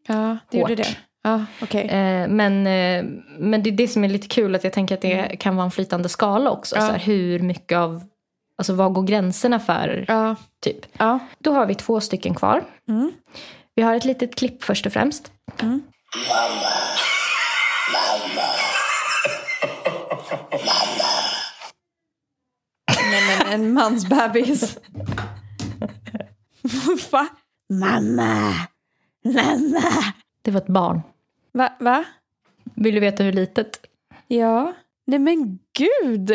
Speaker 2: Ja, det
Speaker 3: Hårt.
Speaker 2: gjorde det. Ja, okej.
Speaker 3: Eh, men, eh, men det är det som är lite kul, att jag tänker att det kan vara en flytande skala också.
Speaker 2: Ja.
Speaker 3: Så här, hur mycket av, alltså vad går gränserna för,
Speaker 2: Ja,
Speaker 3: typ.
Speaker 2: ja.
Speaker 3: Då har vi två stycken kvar.
Speaker 2: Mm.
Speaker 3: Vi har ett litet klipp först och främst.
Speaker 2: Nej men en mansbebis. Va? Mamma. Mamma.
Speaker 3: Det var ett barn.
Speaker 2: Va? Va?
Speaker 3: Vill du veta hur litet?
Speaker 2: Ja. Nej men gud.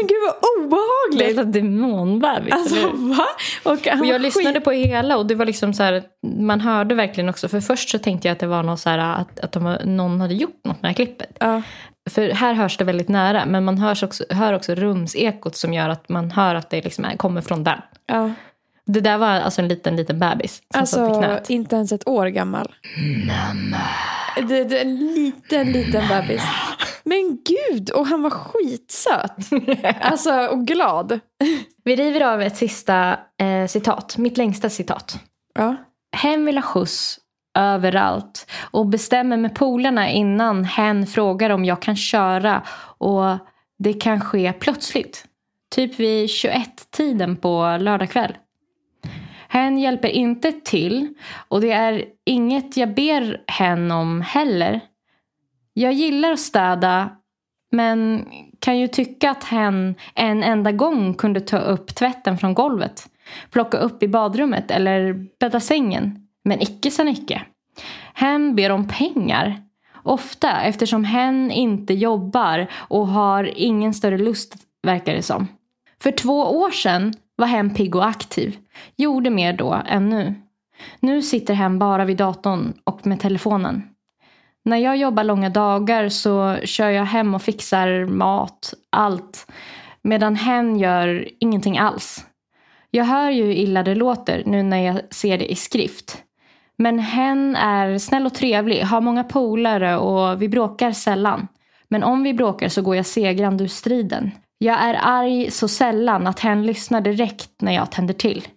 Speaker 2: Men gud vad obehagligt.
Speaker 3: var demonbebis.
Speaker 2: Alltså va? Och han
Speaker 3: och
Speaker 2: var
Speaker 3: jag lyssnade på hela och det var liksom så här, man hörde verkligen också, för först så tänkte jag att det var någon, så här, att, att de, har- någon hade gjort något med det här klippet.
Speaker 2: Ja.
Speaker 3: För här hörs det väldigt nära, men man hörs också, hör också rumsekot som gör att man hör att det liksom är, kommer från den.
Speaker 2: Ja.
Speaker 3: Det där var alltså en liten, liten bebis som satt i
Speaker 2: Alltså
Speaker 3: knät.
Speaker 2: inte ens ett år gammal. Mamma. Det, det är en liten, liten bebis. Men gud, och han var skitsöt. Alltså, och glad.
Speaker 3: Vi river av ett sista eh, citat, mitt längsta citat.
Speaker 2: Ja.
Speaker 3: Hen vill ha skjuts överallt och bestämmer med polarna innan hen frågar om jag kan köra och det kan ske plötsligt. Typ vid 21-tiden på lördag kväll. Hen hjälper inte till och det är inget jag ber hen om heller. Jag gillar att städa men kan ju tycka att hen en enda gång kunde ta upp tvätten från golvet plocka upp i badrummet eller bädda sängen. Men icke sa Nicke. Hen ber om pengar. Ofta eftersom hen inte jobbar och har ingen större lust verkar det som. För två år sedan var hen pigg och aktiv. Gjorde mer då än nu. Nu sitter hen bara vid datorn och med telefonen. När jag jobbar långa dagar så kör jag hem och fixar mat, allt. Medan hen gör ingenting alls. Jag hör ju hur illa det låter nu när jag ser det i skrift. Men hen är snäll och trevlig, har många polare och vi bråkar sällan. Men om vi bråkar så går jag segrande ur striden. Jag är arg så sällan att hen lyssnar direkt när jag tänder till.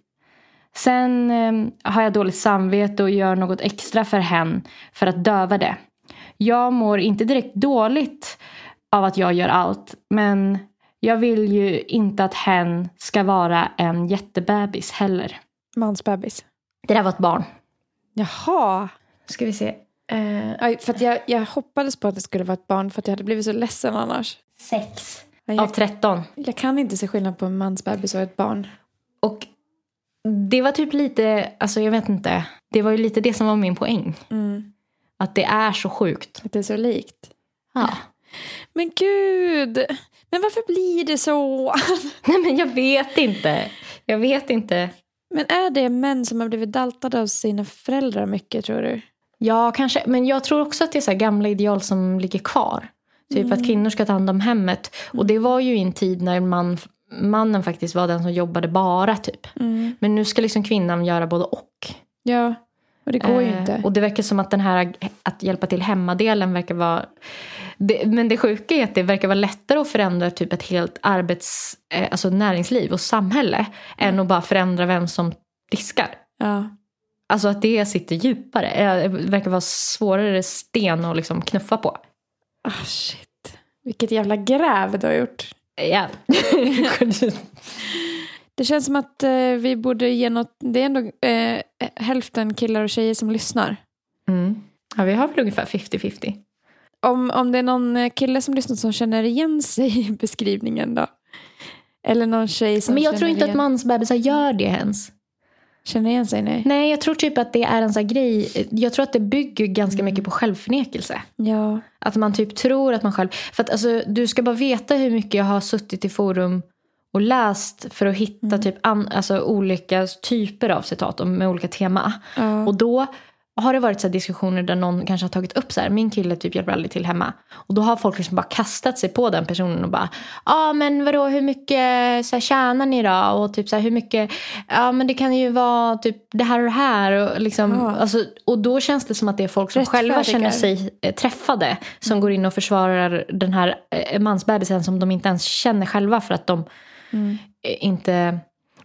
Speaker 3: Sen eh, har jag dåligt samvete och gör något extra för hen för att döva det. Jag mår inte direkt dåligt av att jag gör allt. Men jag vill ju inte att hen ska vara en jättebebis heller.
Speaker 2: Mansbebis.
Speaker 3: Det där var ett barn.
Speaker 2: Jaha.
Speaker 3: Ska vi se. Eh,
Speaker 2: Aj, för att jag, jag hoppades på att det skulle vara ett barn för att jag hade blivit så ledsen annars.
Speaker 3: sex.
Speaker 2: Men
Speaker 3: Av
Speaker 2: Jag,
Speaker 3: 13.
Speaker 2: jag kan inte se skillnad på en mansbebis och ett barn.
Speaker 3: Och det var typ lite, alltså jag vet inte. Det var ju lite det som var min poäng.
Speaker 2: Mm.
Speaker 3: Att det är så sjukt.
Speaker 2: Att det är så likt.
Speaker 3: Ja.
Speaker 2: Men gud! Men varför blir det så?
Speaker 3: Nej men jag vet inte. Jag vet inte.
Speaker 2: Men är det män som har blivit daltade av sina föräldrar mycket tror du?
Speaker 3: Ja, kanske. Men jag tror också att det är så här gamla ideal som ligger kvar. Typ att kvinnor ska ta hand om hemmet. Och det var ju i en tid när man, mannen faktiskt var den som jobbade bara. typ. Men nu ska liksom kvinnan göra både och.
Speaker 2: Ja, och det går ju
Speaker 3: Eh,
Speaker 2: inte.
Speaker 3: Och det verkar som att den här att hjälpa till hemmadelen verkar vara... Det, men det sjuka är att det verkar vara lättare att förändra typ ett helt arbets, eh, alltså näringsliv och samhälle än att bara förändra vem som diskar.
Speaker 2: Ja.
Speaker 3: Alltså att det sitter djupare. Eh, verkar vara svårare sten att liksom knuffa på.
Speaker 2: Ah, shit. Vilket jävla gräv du har gjort.
Speaker 3: Ja.
Speaker 2: Det känns som att eh, vi borde ge något... Det är ändå eh, hälften killar och tjejer som lyssnar.
Speaker 3: mm. ja, vi har väl ungefär 50-50.
Speaker 2: Om, om det är någon eh, kille som lyssnar som känner igen sig i beskrivningen då? Eller någon tjej som
Speaker 3: Men jag
Speaker 2: känner,
Speaker 3: tror inte
Speaker 2: igen,
Speaker 3: att mansbebisar gör det ens.
Speaker 2: känner igen sig? Nej.
Speaker 3: Nej, jag tror typ att det är en sån här grej. Jag tror att det bygger ganska mycket på självförnekelse.
Speaker 2: Ja.
Speaker 3: Att man typ tror att man själv... För att alltså, du ska bara veta hur mycket jag har suttit i forum och läst för att hitta
Speaker 2: Mm.
Speaker 3: typ an, alltså, olika typer av citat och med olika tema.
Speaker 2: ja.
Speaker 3: Och då har det varit så här diskussioner där någon kanske har tagit upp så här, min kille typ hjälper aldrig till hemma. Och då har folk liksom bara kastat sig på den personen och bara, ja ah, men vadå hur mycket så här, tjänar ni då? Och typ så här, hur mycket, ja men det kan ju vara typ det här och det här. Och, liksom,
Speaker 2: Ja.
Speaker 3: alltså, och då känns det som att det är folk som själva
Speaker 2: Rättfärdigar. Mm.
Speaker 3: känner sig eh, träffade. Som går in och försvarar den här eh, mansbebisen som de inte ens känner själva för att de
Speaker 2: Mm.
Speaker 3: eh, inte...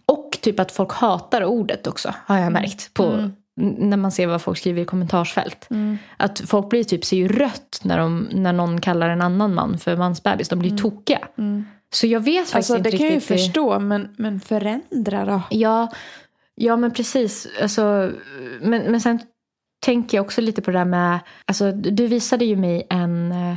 Speaker 3: Och typ att folk hatar ordet också, har jag märkt. På,
Speaker 2: Mm.
Speaker 3: n- När man ser vad folk skriver i kommentarsfält.
Speaker 2: Mm.
Speaker 3: Att folk blir typ, ser ju rött när, de, när någon kallar en annan man för mansbebis. De blir ju tokiga.
Speaker 2: Mm.
Speaker 3: Så jag vet faktiskt
Speaker 2: Alltså
Speaker 3: inte
Speaker 2: det kan jag ju
Speaker 3: riktigt eh. hur-
Speaker 2: förstå, men, men förändra då?
Speaker 3: Ja, ja men precis. Alltså, men, men sen tänker jag också lite på det där med... Alltså, du visade ju mig en... eh,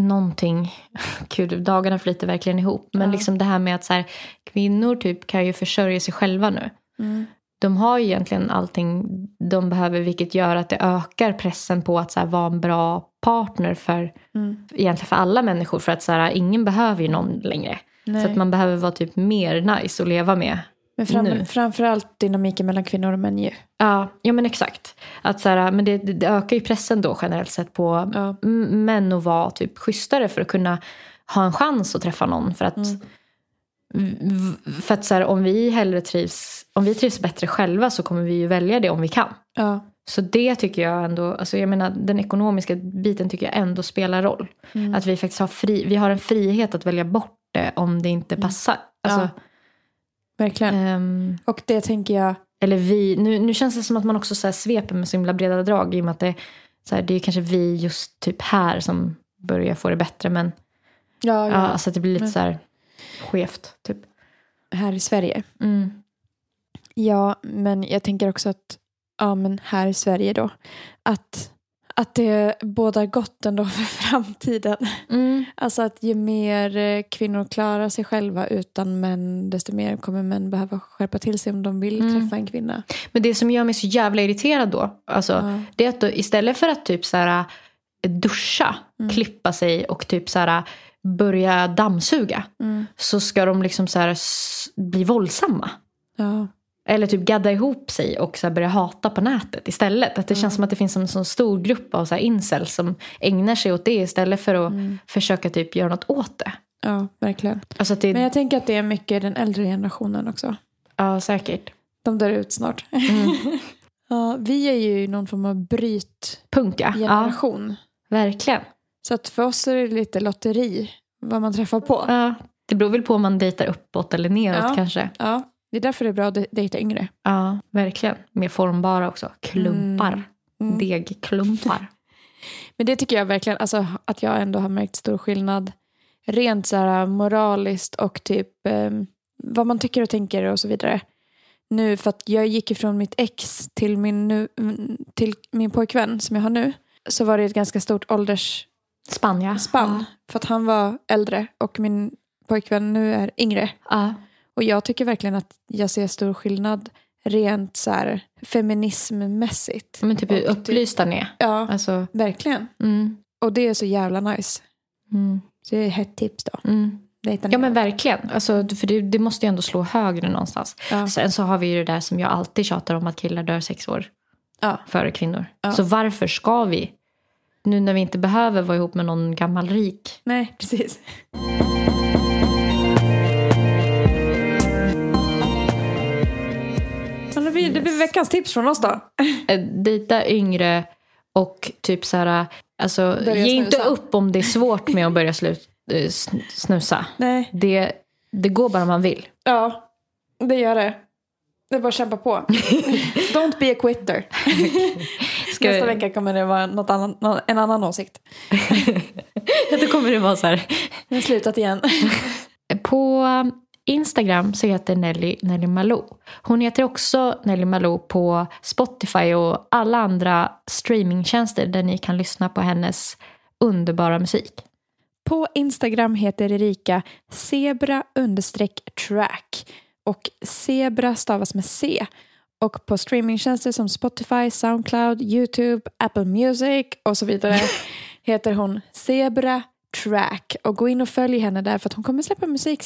Speaker 3: Någonting. Gud, dagarna flyter verkligen ihop. Men
Speaker 2: Ja.
Speaker 3: liksom det här med att så här, kvinnor typ kan ju försörja sig själva nu.
Speaker 2: Mm.
Speaker 3: De har ju egentligen allting de behöver vilket gör att det ökar pressen på att så här, vara en bra partner för,
Speaker 2: Mm.
Speaker 3: egentligen för alla människor. För att så här, ingen behöver ju någon längre.
Speaker 2: Nej.
Speaker 3: Så att man behöver vara typ mer nice att leva med.
Speaker 2: men fram,
Speaker 3: nu.
Speaker 2: framförallt dynamiken mellan kvinnor och män ju.
Speaker 3: Ja, ja men exakt. Att så här, men det, det det ökar ju pressen då generellt sett på
Speaker 2: Ja.
Speaker 3: m- män att vara typ schysstare för att kunna ha en chans att träffa någon. För att, v- för att så här, om vi hellre trivs, om vi trivs bättre själva så kommer vi ju välja det om vi kan.
Speaker 2: Ja.
Speaker 3: Så det tycker jag ändå, alltså jag menar den ekonomiska biten tycker jag ändå spelar roll. Att vi faktiskt har, fri, vi har en frihet att välja bort det om det inte passar. Alltså,
Speaker 2: Verkligen.
Speaker 3: ehm,
Speaker 2: Och det tänker jag,
Speaker 3: eller vi. Nu, nu känns det som att man också så här sveper med så himla breda drag i och med att det, så här, det är kanske vi just typ här som börjar få det bättre. Men
Speaker 2: ja,
Speaker 3: ja,
Speaker 2: ja,
Speaker 3: alltså att det blir lite så här skevt typ.
Speaker 2: här i Sverige.
Speaker 3: Mm.
Speaker 2: Ja, men jag tänker också att, ja men här i Sverige då, att, att det bådar gott ändå för framtiden.
Speaker 3: Mm.
Speaker 2: Alltså att ju mer eh, kvinnor klarar sig själva utan män, desto mer kommer män behöva skärpa till sig om de vill
Speaker 3: Mm.
Speaker 2: träffa en kvinna.
Speaker 3: Men det som gör mig så jävla irriterad då, alltså,
Speaker 2: Ja.
Speaker 3: det är att då, istället för att typ så här, eh, duscha,
Speaker 2: Mm.
Speaker 3: klippa sig och typ så här, börja dammsuga
Speaker 2: Mm.
Speaker 3: så ska de liksom så här, s- bli våldsamma.
Speaker 2: Ja.
Speaker 3: Eller typ gadda ihop sig och så här börja hata på nätet istället. Att det
Speaker 2: Mm.
Speaker 3: känns som att det finns en sån stor grupp av så här incels som ägnar sig åt det istället för
Speaker 2: Mm.
Speaker 3: att försöka typ göra något åt det.
Speaker 2: ja, verkligen.
Speaker 3: Alltså att det
Speaker 2: Men jag tänker att det är mycket den äldre generationen också.
Speaker 3: Ja, säkert.
Speaker 2: De dör ut snart. ja, vi är ju någon form av brytgeneration.
Speaker 3: Punka. Ja, verkligen.
Speaker 2: Så att för oss är det lite lotteri vad man träffar på. Ja.
Speaker 3: Ja, det beror väl på om man dejtar uppåt eller neråt
Speaker 2: Ja.
Speaker 3: kanske.
Speaker 2: Det är därför det är bra att de- dejta yngre.
Speaker 3: Ja, verkligen. Mer formbara också. Klumpar.
Speaker 2: Mm.
Speaker 3: Degklumpar.
Speaker 2: Men det tycker jag verkligen, alltså, att jag ändå har märkt stor skillnad Rent så här moraliskt och typ eh, vad man tycker och tänker och så vidare. Nu för att jag gick ifrån mitt ex till min, nu, mm, till min pojkvän som jag har nu. Så var det ett ganska stort ålders
Speaker 3: Spanien.
Speaker 2: spann. För att han var äldre och min pojkvän nu är yngre.
Speaker 3: Ja.
Speaker 2: Och jag tycker verkligen att jag ser stor skillnad rent så här feminismmässigt.
Speaker 3: Men typ hur
Speaker 2: Och typ-
Speaker 3: upplysta ni är.
Speaker 2: Ja,
Speaker 3: Alltså,
Speaker 2: verkligen.
Speaker 3: mm,
Speaker 2: Och det är så jävla nice.
Speaker 3: mm,
Speaker 2: Så det är ett hett tips då.
Speaker 3: mm.
Speaker 2: Dejta
Speaker 3: Ja
Speaker 2: ner.
Speaker 3: men verkligen. Alltså, för det, det måste ju ändå slå högre någonstans.
Speaker 2: ja.
Speaker 3: Sen så har vi ju det där som jag alltid tjatar om att killar dör sex år
Speaker 2: Ja.
Speaker 3: före kvinnor.
Speaker 2: Ja.
Speaker 3: Så varför ska vi? Nu när vi inte behöver vara ihop med någon gammal rik.
Speaker 2: Nej, precis. Men det, blir, det blir veckans tips från oss då.
Speaker 3: Eh, Dejta yngre och typ så här, alltså
Speaker 2: Börja
Speaker 3: ge inte
Speaker 2: snusa.
Speaker 3: upp om det är svårt med att börja slut, eh, sn- snusa.
Speaker 2: Nej.
Speaker 3: Det, det går bara om man vill.
Speaker 2: Ja, det gör det. Det är bara att kämpa på. Don't be a quitter.
Speaker 3: Ska-
Speaker 2: Nästa vecka kommer det vara något annan, nå- en annan åsikt.
Speaker 3: Då kommer det vara så här.
Speaker 2: Nu har slutat igen.
Speaker 3: På Instagram så heter Nelly Nelly Malou. Hon heter också Nelly Malou på Spotify och alla andra streamingtjänster där ni kan lyssna på hennes underbara musik.
Speaker 2: På Instagram heter Erika zebra-track och zebra stavas med C. Och på streamingtjänster som Spotify, Soundcloud, YouTube, Apple Music och så vidare heter hon Zebra Track. Och gå in och följ henne där för att hon kommer släppa musik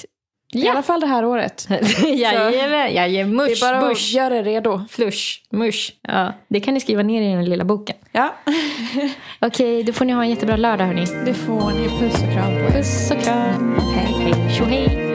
Speaker 2: i alla fall det här året.
Speaker 3: Jajamän, jajamän,
Speaker 2: Det
Speaker 3: mush,
Speaker 2: är bara att
Speaker 3: bush,
Speaker 2: göra er redo.
Speaker 3: flush, mush. Ja, det kan ni skriva ner i den lilla boken.
Speaker 2: Ja,
Speaker 3: Okej, då får ni ha en jättebra lördag hörni.
Speaker 2: det får ni. Puss och kram på er.
Speaker 3: Puss och kram. Hej, hej, tjo hej.